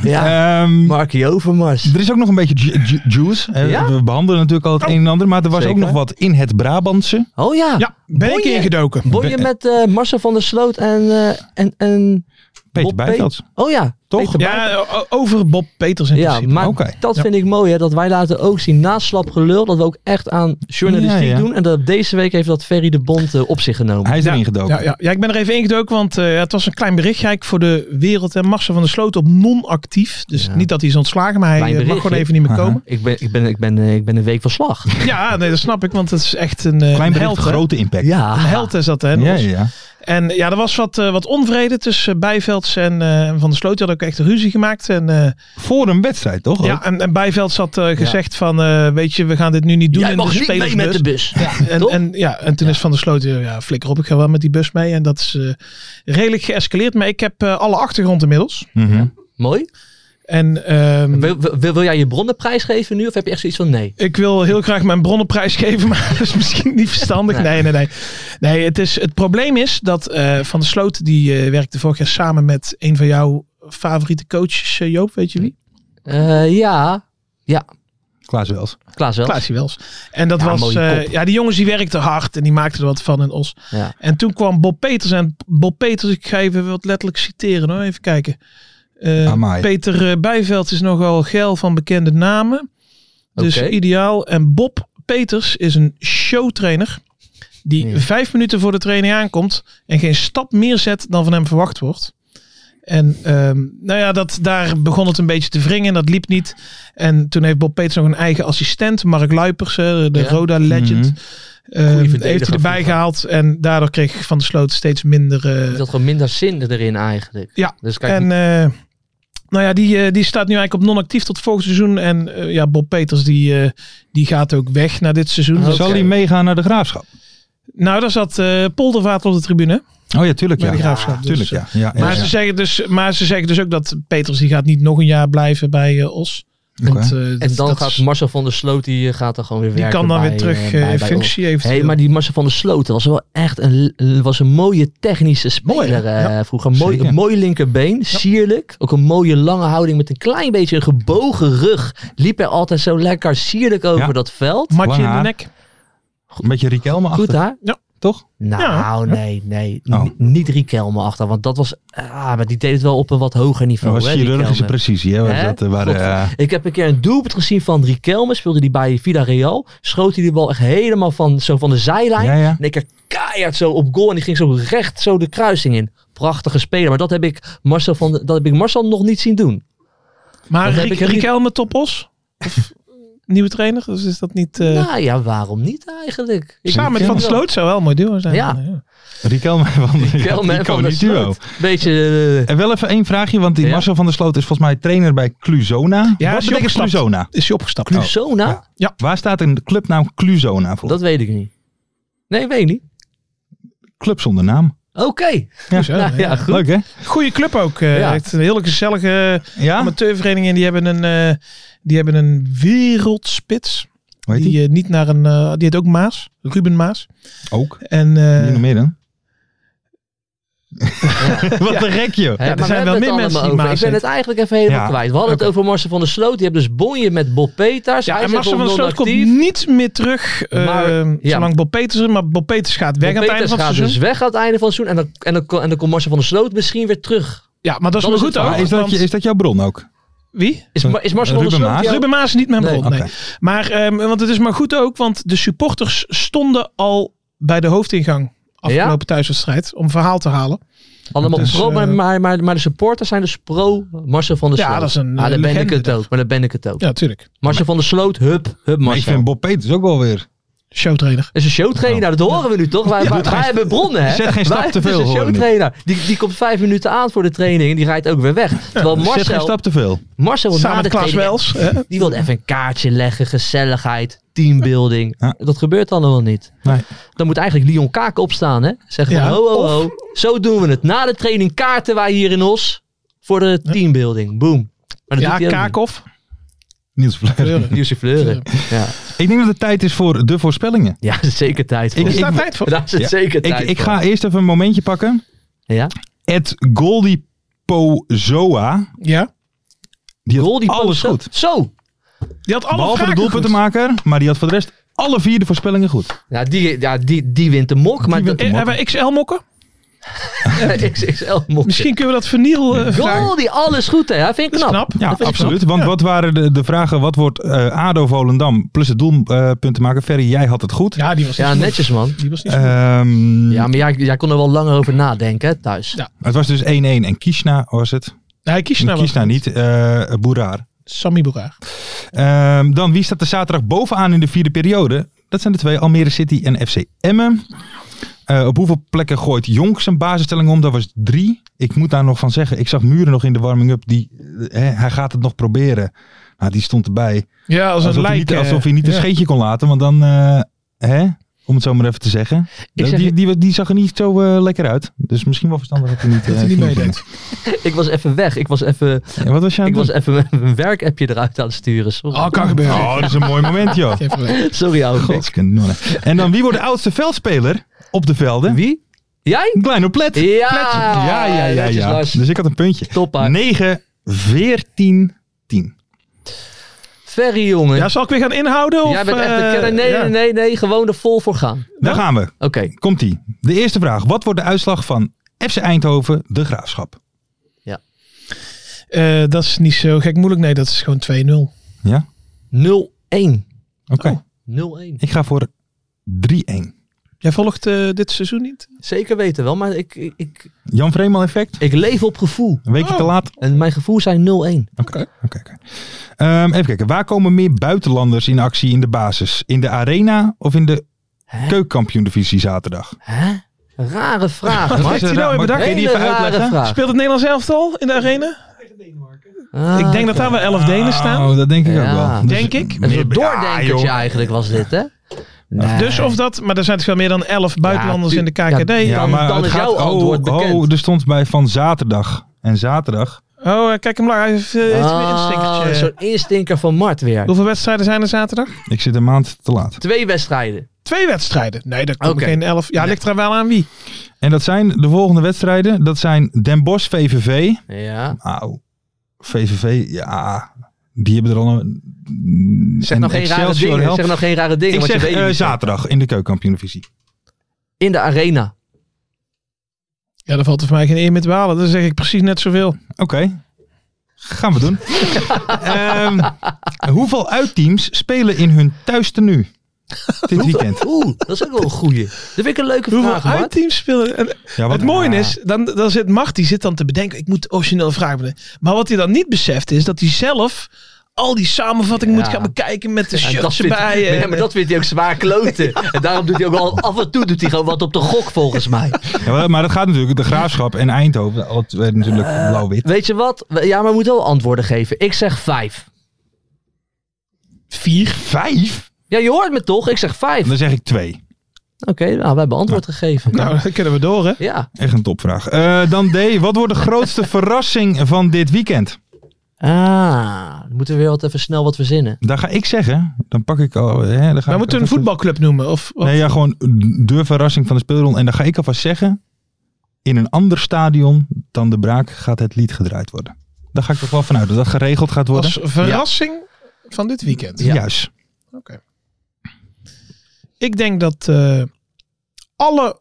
Speaker 4: ja,
Speaker 3: ehm,
Speaker 4: Eh, Markie Overmars.
Speaker 3: er is ook nog een beetje ju- ju- juice. Eh,
Speaker 4: Ja?
Speaker 3: We behandelen natuurlijk al het een en ander. Maar er was
Speaker 4: Zeker.
Speaker 3: ook nog wat in het Brabantse.
Speaker 4: Oh ja.
Speaker 5: Ja, ben ik
Speaker 4: Boeien.
Speaker 5: ingedoken.
Speaker 4: Won je met eh, Marcel van der Sloot en... eh en, en
Speaker 3: Peter
Speaker 4: Bob
Speaker 3: Bijvelds.
Speaker 4: Pe- Oh ja,
Speaker 3: Toch?
Speaker 4: Peter
Speaker 5: Ja, o- over Bob Peters in
Speaker 4: Ja,
Speaker 5: principe.
Speaker 4: maar
Speaker 3: Oké.
Speaker 4: dat
Speaker 3: Ja.
Speaker 4: vind ik mooi, hè, dat wij laten ook zien na slap gelul dat we ook echt aan journalistiek
Speaker 3: Ja, ja.
Speaker 4: doen. En dat deze week heeft dat Ferry de Bond eh, op zich genomen.
Speaker 3: Hij is erin gedoken.
Speaker 5: Ja, ja, ja, ik ben er even ingedoken, want eh, het was een klein berichtje eigenlijk voor de wereld. En Marcel van der Sloot op non-actief. Dus
Speaker 4: Ja.
Speaker 5: niet dat hij is ontslagen, maar hij
Speaker 4: Klein
Speaker 5: eh, mag
Speaker 4: berichtje.
Speaker 5: gewoon even niet meer
Speaker 3: Aha.
Speaker 5: komen.
Speaker 4: Ik, ben, ik, ben, ik, ben, eh, ik ben een week van slag.
Speaker 5: Ja, nee, dat snap ik, want het is echt een,
Speaker 3: Klein
Speaker 5: eh, een
Speaker 3: bericht,
Speaker 5: held. hè?
Speaker 3: grote impact.
Speaker 4: Ja.
Speaker 5: Een held is dat, hè?
Speaker 3: ja, ja, ja.
Speaker 5: En ja, er was wat, eh, wat onvrede tussen Bijvelds en eh, Van der Sloot. Die had ook echt ruzie gemaakt. En, eh,
Speaker 3: Voor een wedstrijd,
Speaker 4: Oh.
Speaker 3: toch?
Speaker 5: ja, en, en Bijvelds had eh, gezegd van, eh, weet je, we gaan dit nu niet doen
Speaker 4: Jij
Speaker 5: in
Speaker 4: mag
Speaker 5: de
Speaker 4: niet mee met
Speaker 5: spelersbus.
Speaker 4: de bus.
Speaker 5: En,
Speaker 4: Toch?
Speaker 5: en, ja, en toen is Van der Sloot, eh, ja, flikker op, ik ga wel met die bus mee. En dat is eh, redelijk geëscaleerd. Maar ik heb eh, alle achtergrond inmiddels.
Speaker 3: Mhm.
Speaker 4: Mooi.
Speaker 5: En ehm,
Speaker 4: Wil, wil, wil- wil jij je bronnenprijs geven nu? Of heb je echt zoiets van nee?
Speaker 5: ik wil heel graag mijn bronnenprijs geven, maar dat is misschien niet verstandig. Nee, nee, nee. Nee, het, is, het probleem is dat eh, Van der Sloot, die eh, werkte vorig jaar samen met een van jouw favoriete coaches, eh, Joop, weet je wie?
Speaker 4: Eh, ja,
Speaker 3: Klaas Wels.
Speaker 4: Klaas wel.
Speaker 5: Klaasje Wels. En dat
Speaker 4: Ja,
Speaker 5: was,
Speaker 4: mooie
Speaker 5: eh,
Speaker 4: kop.
Speaker 5: ja, die jongens die werkten hard en die maakten er wat van in Os.
Speaker 4: Ja.
Speaker 5: En toen kwam Bob Peters en Bob Peters, ik ga even wat letterlijk citeren hoor, even kijken. Eh,
Speaker 3: Amai.
Speaker 5: Peter eh, Bijveld is nogal geil van bekende namen, dus
Speaker 4: Oké.
Speaker 5: ideaal. En Bob Peters is een showtrainer die
Speaker 4: Ja.
Speaker 5: vijf minuten voor de training aankomt en geen stap meer zet dan van hem verwacht wordt. En ehm, nou ja, dat, daar begon het een beetje te wringen. Dat liep niet. En toen heeft Bob Peters nog een eigen assistent, Mark Luipers, hè, de
Speaker 4: Ja.
Speaker 5: Roda legend.
Speaker 3: Mhm.
Speaker 5: Ehm,
Speaker 4: verdediger
Speaker 5: heeft hij erbij
Speaker 4: vroeger.
Speaker 5: gehaald. En daardoor kreeg Van der Sloot steeds minder. eh,
Speaker 4: Ik had gewoon minder zin erin eigenlijk.
Speaker 5: Ja,
Speaker 4: Dus kijk,
Speaker 5: en eh, nou ja, die, eh, die staat nu eigenlijk op non-actief tot volgend seizoen. En eh, ja, Bob Peters die, eh, die gaat ook weg na dit seizoen. Dus
Speaker 4: Oh,
Speaker 5: Dat-
Speaker 3: Zal
Speaker 4: Oké.
Speaker 3: hij meegaan naar de graafschap?
Speaker 5: Nou, daar zat eh Poldervaart op de tribune.
Speaker 3: Oh ja, tuurlijk
Speaker 5: Bij
Speaker 3: ja.
Speaker 5: de graafschap. dus,
Speaker 3: Tuurlijk ja. ja, ja,
Speaker 5: Maar,
Speaker 3: ja.
Speaker 5: Ze zeggen dus, maar ze zeggen dus ook dat Peters die gaat niet nog een jaar blijven bij eh, Os. Want, eh,
Speaker 4: en
Speaker 5: dat-
Speaker 4: dan
Speaker 5: dat
Speaker 4: gaat
Speaker 5: is-
Speaker 4: Marcel van der Sloot, die eh, gaat dan gewoon weer
Speaker 5: die
Speaker 4: werken
Speaker 5: kan dan
Speaker 4: bij,
Speaker 5: weer terug
Speaker 4: eh,
Speaker 5: eh,
Speaker 4: bij-
Speaker 5: in
Speaker 4: bij ons.
Speaker 5: functie eventueel.
Speaker 4: hey, maar die Marcel van der Sloot was wel echt een, was een mooie technische speler eh, vroeger. Mooi,
Speaker 3: Zeker.
Speaker 4: een mooi linkerbeen, sierlijk. Ook een mooie lange houding met een klein beetje een gebogen rug. Liep hij altijd zo lekker sierlijk over
Speaker 3: Ja.
Speaker 4: dat veld.
Speaker 5: Matje
Speaker 3: Lang
Speaker 5: in de
Speaker 3: haar.
Speaker 5: nek.
Speaker 3: Een beetje Riquelme achter,
Speaker 4: Goed daar.
Speaker 3: toch?
Speaker 4: Nou,
Speaker 5: Ja.
Speaker 4: nee, nee.
Speaker 3: Oh.
Speaker 4: N- Niet Riquelme achter, want dat was... Ah, maar die deed het wel op een wat hoger
Speaker 3: Dat
Speaker 4: niveau.
Speaker 3: was
Speaker 4: hè,
Speaker 3: chirurgische
Speaker 4: Riquelme.
Speaker 3: precisie. Hè? was
Speaker 4: Hè?
Speaker 3: Dat, eh, waren, eh,
Speaker 4: Ik heb een keer een doelpunt gezien van Riquelme. Speelde die bij Villarreal. Schoot hij die bal echt helemaal van, zo van de zijlijn.
Speaker 3: ja, ja.
Speaker 4: En ik er keihard zo op goal. En die ging zo recht zo de kruising in. Prachtige speler. Maar dat heb ik Marcel, van, de- dat heb ik Marcel nog niet zien doen.
Speaker 5: Maar
Speaker 4: Dat heb
Speaker 5: Rik-
Speaker 4: ik er niet-
Speaker 5: Riquelme top Os? Of nieuwe trainer? Dus is dat niet... eh,
Speaker 4: nou ja, waarom niet eigenlijk? Ik
Speaker 5: Samen met Van der Sloot zou wel een mooi duo zijn.
Speaker 4: Ja.
Speaker 3: Riquelme van de
Speaker 4: Riquelme en Van der
Speaker 3: duo.
Speaker 4: Sloot. Beetje... eh,
Speaker 3: En wel even één vraagje, want die
Speaker 4: Ja.
Speaker 3: Marcel van der Sloot is volgens mij trainer bij Cluzona.
Speaker 5: Ja,
Speaker 3: Wat
Speaker 5: is hij
Speaker 3: betekent
Speaker 5: opgestapt?
Speaker 3: Cluzona?
Speaker 5: Is hij opgestapt?
Speaker 4: Clusona?
Speaker 5: oh,
Speaker 3: Waar staat een clubnaam Cluzona voor?
Speaker 4: Dat weet ik niet. Nee, weet ik niet.
Speaker 3: Club zonder naam.
Speaker 4: Oké.
Speaker 5: Dus, hè,
Speaker 4: Nou, ja,
Speaker 5: ja.
Speaker 4: goed.
Speaker 3: Leuk hè?
Speaker 5: Goeie club ook. eh,
Speaker 4: Ja.
Speaker 5: Echt een hele gezellige
Speaker 3: Ja?
Speaker 5: amateurvereniging. En die hebben een, eh, die hebben een wereldspits.
Speaker 3: Hoe heet
Speaker 5: die
Speaker 3: die?
Speaker 5: eh, niet naar een... eh, die heet ook Maas. Ruben Maas.
Speaker 3: Ook.
Speaker 5: En eh,
Speaker 3: Wie nog meer dan? Wat een gek joh.
Speaker 4: Hè,
Speaker 5: er
Speaker 4: maar
Speaker 5: zijn
Speaker 4: we
Speaker 5: wel
Speaker 4: hebben
Speaker 5: meer
Speaker 4: het
Speaker 5: mensen
Speaker 4: allemaal
Speaker 5: die
Speaker 4: over.
Speaker 5: Maas
Speaker 4: Ik ben het
Speaker 5: heten.
Speaker 4: eigenlijk even helemaal
Speaker 3: Ja.
Speaker 4: kwijt. We hadden het over Marcel van der Sloot. Die hebben dus bonje met Bob Peters.
Speaker 5: Ja,
Speaker 4: Hij
Speaker 5: en
Speaker 4: zit
Speaker 5: Marcel
Speaker 4: op
Speaker 5: van der Sloot komt
Speaker 4: non-actief.
Speaker 5: niet meer terug. eh,
Speaker 4: Maar- ja.
Speaker 5: Zolang Bob Peters er- Maar Bob Peters gaat weg
Speaker 4: Bob
Speaker 5: aan het einde
Speaker 4: Peters
Speaker 5: van het
Speaker 4: gaat
Speaker 5: seizoen.
Speaker 4: dus weg aan het einde van het seizoen. En dan, en dan, ko- en dan komt Marcel van der Sloot misschien weer terug.
Speaker 5: Ja, maar dat is
Speaker 4: Dat
Speaker 5: wel
Speaker 4: is
Speaker 5: goed
Speaker 4: het
Speaker 5: ook.
Speaker 3: Maar is, dat
Speaker 5: want-
Speaker 3: je, is dat jouw bron ook?
Speaker 5: Wie?
Speaker 4: Is, Ma- is Marcel van der
Speaker 3: Ruben
Speaker 4: Sloot
Speaker 3: Maas?
Speaker 4: jou-
Speaker 5: Ruben Maas is niet mijn
Speaker 4: Nee.
Speaker 5: bron. Nee.
Speaker 3: Oké.
Speaker 5: Maar, ehm, want het is maar goed ook, want de supporters stonden al bij de hoofdingang afgelopen thuiswedstrijd om verhaal te halen.
Speaker 4: Allemaal
Speaker 5: Dus,
Speaker 4: pro,
Speaker 5: eh,
Speaker 4: maar, maar, maar, maar de supporters zijn dus pro Marcel van der
Speaker 5: Ja,
Speaker 4: Sloot.
Speaker 5: dat is een,
Speaker 4: Ah,
Speaker 5: eh,
Speaker 4: daar ben ik
Speaker 5: legende
Speaker 4: het
Speaker 5: dat.
Speaker 4: ook. Maar daar ben ik het ook.
Speaker 5: Ja, natuurlijk.
Speaker 4: Marcel van der Sloot, hup, hup
Speaker 3: Maar ik
Speaker 4: Marcel.
Speaker 3: vind Nou. Bob Peters ook wel weer.
Speaker 5: Showtrainer.
Speaker 4: is een showtrainer, dat horen we nu toch? Wij, wij, wij hebben bronnen, hè?
Speaker 3: Zet geen stap
Speaker 4: Wij-
Speaker 3: te veel,
Speaker 4: Het is een
Speaker 3: hoor ik nu.
Speaker 4: showtrainer. Die, die komt vijf minuten aan voor de training en die rijdt ook weer weg. Terwijl
Speaker 3: Zet geen
Speaker 4: Marcel,
Speaker 3: stap te veel.
Speaker 4: Marcel
Speaker 5: Samen
Speaker 4: na de
Speaker 5: met Klaas
Speaker 4: training,
Speaker 5: Wels. hè?
Speaker 4: die wilde even een kaartje leggen, gezelligheid, teambuilding.
Speaker 3: Ja.
Speaker 4: Dat gebeurt allemaal niet.
Speaker 3: Nee.
Speaker 4: Dan moet eigenlijk Leon Kaak opstaan, hè? Zeggen van,
Speaker 5: Ja,
Speaker 4: ho, ho, ho. Zo doen we het. Na de training kaarten wij hier in Os voor de teambuilding. Boom. Maar dat
Speaker 5: Ja,
Speaker 4: doet hij ook niet.
Speaker 5: Kaakhoff.
Speaker 3: Eh, Niels Fleuren.
Speaker 5: Kleuren.
Speaker 4: Nieuwse fleuren. Ja,
Speaker 3: Ik denk dat het tijd is voor de voorspellingen.
Speaker 4: ja dat is zeker tijd voor.
Speaker 5: Is daar tijd voor?
Speaker 4: Daar is het
Speaker 3: Ja,
Speaker 4: zeker
Speaker 3: Ik,
Speaker 4: tijd
Speaker 3: ik
Speaker 4: voor.
Speaker 3: ga eerst even een momentje pakken.
Speaker 4: Ja?
Speaker 3: Ed Goldie Pozoa.
Speaker 5: Ja.
Speaker 3: Die had
Speaker 4: Goal die
Speaker 3: alles
Speaker 4: Pozo-
Speaker 3: goed.
Speaker 4: Zo.
Speaker 5: Die had
Speaker 3: Behalve
Speaker 5: alle
Speaker 3: de
Speaker 5: vragen goed.
Speaker 3: doelpuntenmaker, maar die had voor de rest alle vier de voorspellingen goed.
Speaker 4: Ja, die, ja, die, die wint de mok. maar
Speaker 3: wint
Speaker 4: dat-
Speaker 3: de
Speaker 5: Eh, Hebben we XL mokken?
Speaker 4: XXL mokje.
Speaker 5: Misschien kunnen we dat verniel eh, vragen.
Speaker 4: Goal, die alles goed hè. Hij vindt
Speaker 5: Dat
Speaker 4: ik
Speaker 5: is
Speaker 4: knap.
Speaker 5: knap.
Speaker 3: Ja,
Speaker 4: Dat is
Speaker 3: absoluut. Want wat waren de, de vragen? Wat wordt eh, ADO Volendam plus het doelpunt te maken? Ferry, jij had het goed.
Speaker 5: Ja, die was niet
Speaker 4: Ja,
Speaker 5: goed.
Speaker 4: netjes man.
Speaker 5: Die was niet goed.
Speaker 3: Ehm,
Speaker 4: Ja, maar jij, jij kon er wel langer over nadenken hè, thuis.
Speaker 5: Ja.
Speaker 3: Het was dus 1-1 en Kishna was het.
Speaker 5: Nee, kies nou
Speaker 3: Kishna niet, eh Boeraar.
Speaker 5: Sammy Boeraar.
Speaker 3: Ehm, dan wie staat er zaterdag bovenaan in de vierde periode? Dat zijn de twee, Almere City en FC Emmen. Eh, op hoeveel plekken gooit Jonk zijn basisstelling om? Dat was drie. Ik moet daar nog van zeggen, ik zag Muren nog in de warming-up. Die, eh, hè, hij gaat het nog proberen. Nou, die stond erbij.
Speaker 5: Ja, als
Speaker 3: Alsof,
Speaker 5: een
Speaker 3: hij,
Speaker 5: lijk.
Speaker 3: niet,
Speaker 5: eh,
Speaker 3: alsof hij niet een
Speaker 5: ja.
Speaker 3: scheetje kon laten. Want dan, eh, hè? om het zo maar even te zeggen.
Speaker 4: Ik zeg-
Speaker 3: die, die, die zag er niet zo eh, lekker uit. Dus misschien wel verstandig dat hij niet, eh,
Speaker 5: hij niet
Speaker 3: ging
Speaker 5: meedeed.
Speaker 3: beginnen.
Speaker 4: Ik was even weg. Ik was even,
Speaker 3: En wat was je aan
Speaker 4: ik
Speaker 3: het
Speaker 4: was
Speaker 3: doen?
Speaker 4: even mijn werkappje eruit aan het sturen. Sorry,
Speaker 5: Oh, kan gebeuren.
Speaker 3: Oh, dat is een mooi moment, joh.
Speaker 5: Geef maar weg.
Speaker 4: Sorry ouwe gek.
Speaker 3: Godskanonnen. En dan wie wordt de oudste veldspeler op de velden?
Speaker 4: Wie? Jij?
Speaker 3: Klein op plet.
Speaker 4: Ja!
Speaker 3: Plet. ja, ja, ja,
Speaker 4: Netjes,
Speaker 3: ja.
Speaker 4: Lars.
Speaker 3: Dus ik had een puntje.
Speaker 4: Toppa.
Speaker 3: 9, 14, 10.
Speaker 4: Ferry jongen.
Speaker 5: Ja, zal ik weer gaan inhouden? Of,
Speaker 4: jij bent echt
Speaker 5: eh,
Speaker 4: een kenner. Nee,
Speaker 5: ja.
Speaker 4: nee, nee, nee. Gewoon er vol voor gaan.
Speaker 3: Daar gaan we.
Speaker 4: Oké.
Speaker 3: Komt ie. De eerste vraag. Wat wordt de uitslag van FC Eindhoven, de graafschap?
Speaker 5: Eh, dat is niet zo gek moeilijk. Nee, dat is gewoon 2-0.
Speaker 3: Ja?
Speaker 4: 0-1.
Speaker 3: Oké.
Speaker 4: Oh. 0-1.
Speaker 3: Ik ga voor 3-1.
Speaker 5: Jij volgt eh, dit seizoen niet?
Speaker 4: Zeker weten wel, maar ik, ik, ik,
Speaker 3: Jan Vreemal effect.
Speaker 4: ik leef op gevoel.
Speaker 3: Een weekje
Speaker 5: Oh.
Speaker 3: te laat.
Speaker 4: En mijn gevoel zijn 0-1.
Speaker 3: Oké. oké, oké. Ehm, even kijken. Waar komen meer buitenlanders in actie in de basis? In de arena of in de
Speaker 4: Hè?
Speaker 3: keukenkampioen-divisie zaterdag?
Speaker 4: Hè? Rare vraag,
Speaker 3: Wat
Speaker 4: man.
Speaker 3: is er
Speaker 5: nou
Speaker 3: raar?
Speaker 5: in
Speaker 3: Maar
Speaker 5: bedacht?
Speaker 3: kun je die
Speaker 4: Hele
Speaker 3: even
Speaker 4: rare
Speaker 3: uitleggen?
Speaker 4: vraag.
Speaker 5: Speelt het Nederlands elftal in de arena?
Speaker 4: Ah,
Speaker 5: ik denk dat daar wel 11 Denen staan.
Speaker 3: Oh, dat denk ik ook
Speaker 4: Ja.
Speaker 3: wel. Dus
Speaker 5: Denk ik.
Speaker 3: meer-
Speaker 4: Een soort
Speaker 3: Ja, joh.
Speaker 4: doordenkertje eigenlijk was dit, hè? Nee.
Speaker 5: Dus of dat, maar er zijn toch wel meer dan 11 buitenlanders
Speaker 4: tu-
Speaker 5: in de KKD.
Speaker 4: ja,
Speaker 3: Ja,
Speaker 4: Dan-
Speaker 3: maar
Speaker 4: dan
Speaker 3: het
Speaker 4: is
Speaker 3: gaat,
Speaker 4: jouw antwoord
Speaker 3: oh,
Speaker 4: bekend.
Speaker 3: oh, er stond bij van zaterdag. En zaterdag.
Speaker 5: Oh, eh, kijk hem lang. Hij heeft, eh, heeft weer een
Speaker 4: Ah,
Speaker 5: stinkertje.
Speaker 4: Zo'n instinker van Mart weer.
Speaker 5: Hoeveel wedstrijden zijn er zaterdag?
Speaker 3: Ik zit een maand te laat.
Speaker 4: Twee wedstrijden.
Speaker 5: Twee wedstrijden. Nee, dat komt
Speaker 4: Oké.
Speaker 5: geen 11. Ja, ligt er wel aan wie.
Speaker 3: En dat zijn de volgende wedstrijden. Dat zijn Den Bosch VVV.
Speaker 4: Ja.
Speaker 3: Auw. VVV, ja. Die hebben er al een...
Speaker 4: Zeg
Speaker 3: en
Speaker 4: nou geen rare
Speaker 3: Excelsior
Speaker 4: dingen.
Speaker 3: helpt.
Speaker 4: Zeg nou geen rare dingen.
Speaker 3: Ik
Speaker 4: want
Speaker 3: zeg
Speaker 4: je weet
Speaker 3: eh,
Speaker 4: niet.
Speaker 3: zaterdag in de keukenkampioenvisie.
Speaker 4: In de arena.
Speaker 5: Ja, daar valt er voor mij geen eer meer te behalen. Dan zeg ik precies net zoveel.
Speaker 3: Oké. Gaan we doen. Ehm, hoeveel uitteams spelen in hun thuis tenue? Dit weekend.
Speaker 4: Oeh, dat is ook wel een goeie. Dat vind ik een leuke
Speaker 5: Hoeveel
Speaker 4: vraag, Mart.
Speaker 5: uitteams spelen? En
Speaker 3: Ja, wat-
Speaker 5: het mooie
Speaker 3: Ah.
Speaker 5: is, dan, dan zit Mart, die zit dan te bedenken, ik moet originele vragen bedenken. Maar wat hij dan niet beseft is dat hij zelf al die samenvatting
Speaker 4: Ja.
Speaker 5: moet gaan bekijken met de
Speaker 4: Ja,
Speaker 5: shirts
Speaker 4: vindt,
Speaker 5: erbij.
Speaker 3: eh,
Speaker 4: nee,
Speaker 5: en-
Speaker 4: maar dat vindt hij ook zwaar kloten. En daarom doet hij ook al af en toe doet hij gewoon wat op de gok volgens mij.
Speaker 3: Ja, maar- maar dat gaat natuurlijk de Graafschap en Eindhoven. Alle twee natuurlijk
Speaker 5: Eh,
Speaker 3: blauw-wit.
Speaker 4: Weet je wat? We- Ja, maar we moeten wel antwoorden geven. Ik zeg vijf.
Speaker 3: Vier? Vijf?
Speaker 4: Ja, je hoort me toch? Ik zeg vijf.
Speaker 3: Dan zeg ik twee.
Speaker 4: Oké, nou, we hebben antwoord gegeven.
Speaker 5: Nou, dan kunnen we door, hè?
Speaker 4: Ja.
Speaker 3: Echt een topvraag. Eh, dan D. Wat wordt de grootste verrassing van dit weekend?
Speaker 4: Ah, dan moeten we weer wat even snel wat verzinnen.
Speaker 3: Daar ga ik zeggen. Dan pak ik al. Hè, dan ga ik
Speaker 5: Maar moeten we een
Speaker 3: even-
Speaker 5: voetbalclub noemen? Of, of-
Speaker 3: Nee, ja, gewoon de verrassing van de speelronde. En dan ga ik alvast zeggen. In een ander stadion dan de Braak gaat het lied gedraaid worden. Daar ga ik toch wel vanuit dat dat geregeld gaat worden.
Speaker 5: als verrassing van dit weekend.
Speaker 4: Ja.
Speaker 3: Juist.
Speaker 5: Ik denk dat eh, alle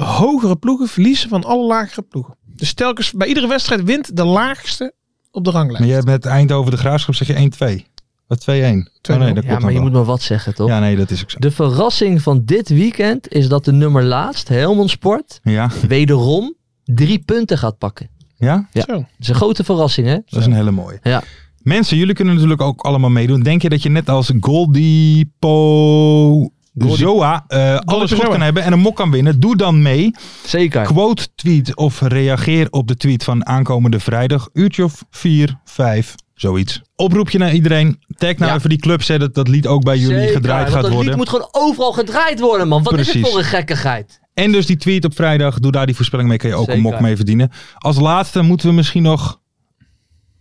Speaker 5: hogere ploegen verliezen van alle lagere ploegen. Dus telkens bij iedere wedstrijd wint de laagste op de
Speaker 3: Maar
Speaker 5: ranglijst.
Speaker 3: jij met Eindhoven de Graafschap zeg je 1-2. Wat 2-1. Oh nee, dat
Speaker 4: Ja,
Speaker 3: klopt
Speaker 4: maar je
Speaker 3: nog wel.
Speaker 4: moet maar wat zeggen, toch?
Speaker 3: Ja, nee, dat is ook zo.
Speaker 4: De verrassing van dit weekend is dat de nummer laatst, Helmond Sport,
Speaker 3: Ja,
Speaker 4: wederom drie punten gaat pakken.
Speaker 3: ja?
Speaker 4: Ja.
Speaker 5: Zo.
Speaker 4: Dat is een grote verrassing, hè?
Speaker 3: dat is een hele mooie.
Speaker 4: Ja.
Speaker 3: Mensen, jullie kunnen natuurlijk ook allemaal meedoen. Denk je dat je net als Goldie Po... Zoa eh, alles goed
Speaker 5: Pozoa.
Speaker 3: kan hebben en een mok kan winnen. Doe dan mee.
Speaker 4: Zeker.
Speaker 3: Quote tweet of reageer op de tweet van aankomende vrijdag. Uurtje of 4, 5, zoiets. Oproepje naar iedereen. Tag nou
Speaker 4: Ja.
Speaker 3: even die club. Zet dat dat lied ook bij jullie
Speaker 4: Zeker,
Speaker 3: gedraaid
Speaker 4: want
Speaker 3: gaat
Speaker 4: dat
Speaker 3: worden.
Speaker 4: lied moet gewoon overal gedraaid worden, man. Wat is het
Speaker 3: Precies.
Speaker 4: voor een gekkigheid?
Speaker 3: En dus die tweet op vrijdag. Doe daar die voorspelling mee. Kan je ook een
Speaker 4: Zeker.
Speaker 3: mok mee verdienen. Als laatste moeten we misschien nog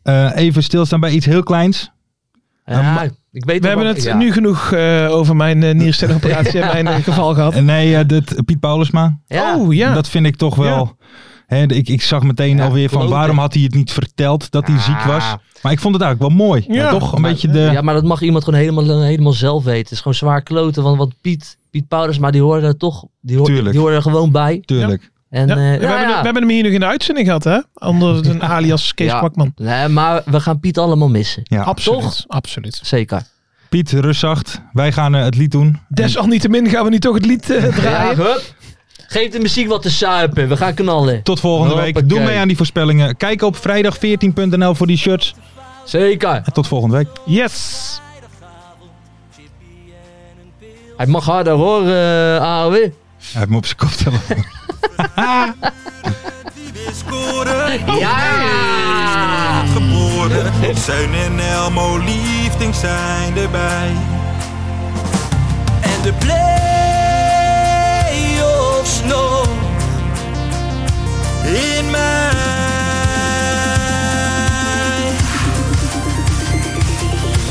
Speaker 3: eh, even stilstaan bij iets heel kleins.
Speaker 4: Ja, ik weet
Speaker 5: We
Speaker 4: wel
Speaker 5: hebben
Speaker 4: wat-
Speaker 5: het
Speaker 4: ja.
Speaker 5: nu genoeg eh, over mijn eh, nierstellingoperatie en mijn eh, geval gehad.
Speaker 3: Eh, Nee, eh, dit, Piet Paulusma.
Speaker 4: Ja.
Speaker 5: Oh ja,
Speaker 3: Dat vind ik toch wel... hè, de- ik, ik zag meteen
Speaker 4: Ja,
Speaker 3: alweer van
Speaker 4: kloten.
Speaker 3: waarom had hij het niet verteld dat hij
Speaker 4: Ja.
Speaker 3: ziek was. Maar ik vond het eigenlijk wel mooi.
Speaker 5: Ja.
Speaker 3: toch een
Speaker 4: Maar-
Speaker 3: beetje de...
Speaker 4: Ja, maar dat mag iemand gewoon helemaal, helemaal zelf weten. Het is gewoon zwaar kloten, want, want Piet, Piet Paulus, maar die hoorde er toch die hoorde,
Speaker 3: Tuurlijk.
Speaker 4: die hoorde er gewoon bij.
Speaker 3: Tuurlijk.
Speaker 8: En,
Speaker 5: Ja,
Speaker 8: eh,
Speaker 5: we,
Speaker 8: nou
Speaker 5: hebben,
Speaker 8: ja.
Speaker 5: we hebben hem hier nog in de uitzending gehad, hè? Onder een alias Kees
Speaker 8: Ja.
Speaker 5: Kwakman.
Speaker 8: Nee, maar we gaan Piet allemaal missen.
Speaker 3: Ja.
Speaker 5: Absoluut.
Speaker 8: Toch?
Speaker 5: Absoluut.
Speaker 8: Zeker.
Speaker 3: Piet, rustzacht. Wij gaan eh, het lied doen.
Speaker 5: Desalniettemin gaan we niet toch het lied eh,
Speaker 8: Ja,
Speaker 5: draaien.
Speaker 8: hup. Geef de muziek wat te suipen. We gaan knallen.
Speaker 3: Tot volgende week. Doe
Speaker 8: Hoppakee.
Speaker 3: mee aan die voorspellingen. Kijk op vrijdag14.nl voor die shirts.
Speaker 8: Zeker.
Speaker 3: En tot volgende week.
Speaker 5: Yes.
Speaker 8: Hij mag harder hoor, eh AOW.
Speaker 3: Hij heeft me op zijn kop tellen.
Speaker 8: Ja!
Speaker 9: Geboren, Zijn en Elmo liefdings zijn erbij.
Speaker 4: en de play-offs nog in mij.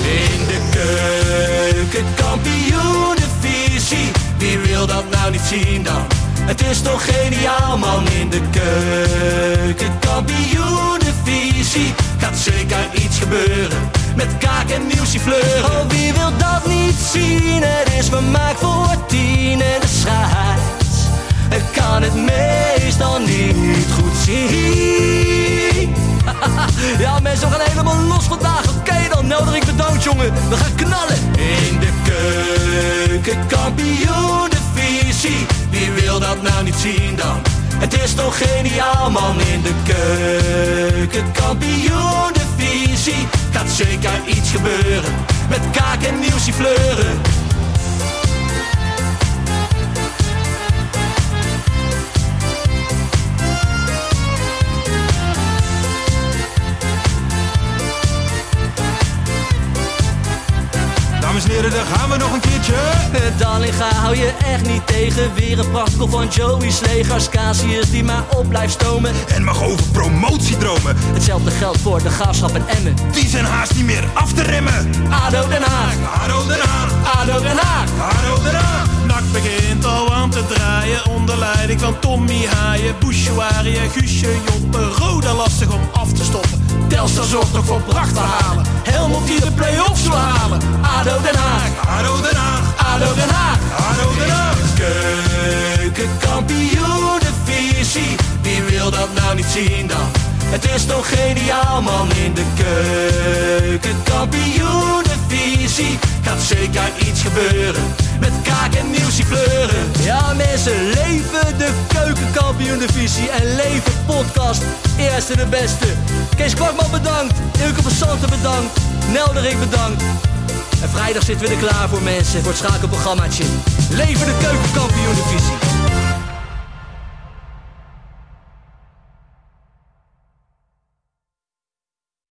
Speaker 4: In de keuken, kampioenenvisie. Wie wil dat nou niet zien dan? Het is toch geniaal man in de keuken, kampioenenvisie. Gaat zeker iets gebeuren met kaak en nieuwsje fleuren. Oh, wie wil dat niet zien? Het is vermaakt voor tien en de scheids. Ik kan het meestal niet goed zien. Ja, mensen, we gaan helemaal los vandaag. Oké, dan nodig ik de dood, jongen. We gaan knallen. In de keuken, kampioen, de visie. Wie wil dat nou niet zien dan? Het is toch geniaal, man. In de keuken, kampioen, de visie. Gaat zeker iets gebeuren. Met kaak en nieuwsie fleuren.
Speaker 9: Dames en heren, daar gaan we nog een keertje.
Speaker 4: Eh, Dallinga hou je echt niet tegen. Weer een prachtkel van Joey's legers. Casius die maar op blijft stomen.
Speaker 9: En mag over promotiedromen.
Speaker 4: Hetzelfde geldt voor de graafschap en Emmen.
Speaker 9: Die zijn haast niet meer af te remmen.
Speaker 4: ADO Den Haag,
Speaker 9: Haro eraan,
Speaker 4: ADO Den Haag.
Speaker 9: haro eraan.
Speaker 10: Nak begint al aan te draaien onder leiding van Tommy Haaien, Bouchouari en Guusje Joppen. Roda lastig om af te stoppen.
Speaker 4: Telstar zorgt nog voor pracht te halen. Helmond die de play-offs wil halen. ADO Den Haag,
Speaker 9: Haro eraan,
Speaker 4: ADO Den Haag.
Speaker 9: haro eraan.
Speaker 4: Keukenkampioenenvisie. Wie wil dat nou niet zien dan? Het is toch geniaal man in de keukenkampioenenvisie. Gaat zeker iets gebeuren. Met kaak en nieuwsie kleuren. Ja mensen, leven de keukenkampioenenvisie. En leven podcast. Eerste de beste. Kees Kwakman bedankt. Ilke van Santen bedankt. Nelderik bedankt. En vrijdag zitten we er klaar voor mensen, voor het schakelprogrammaatje. Leven de keukenkampioen divisie.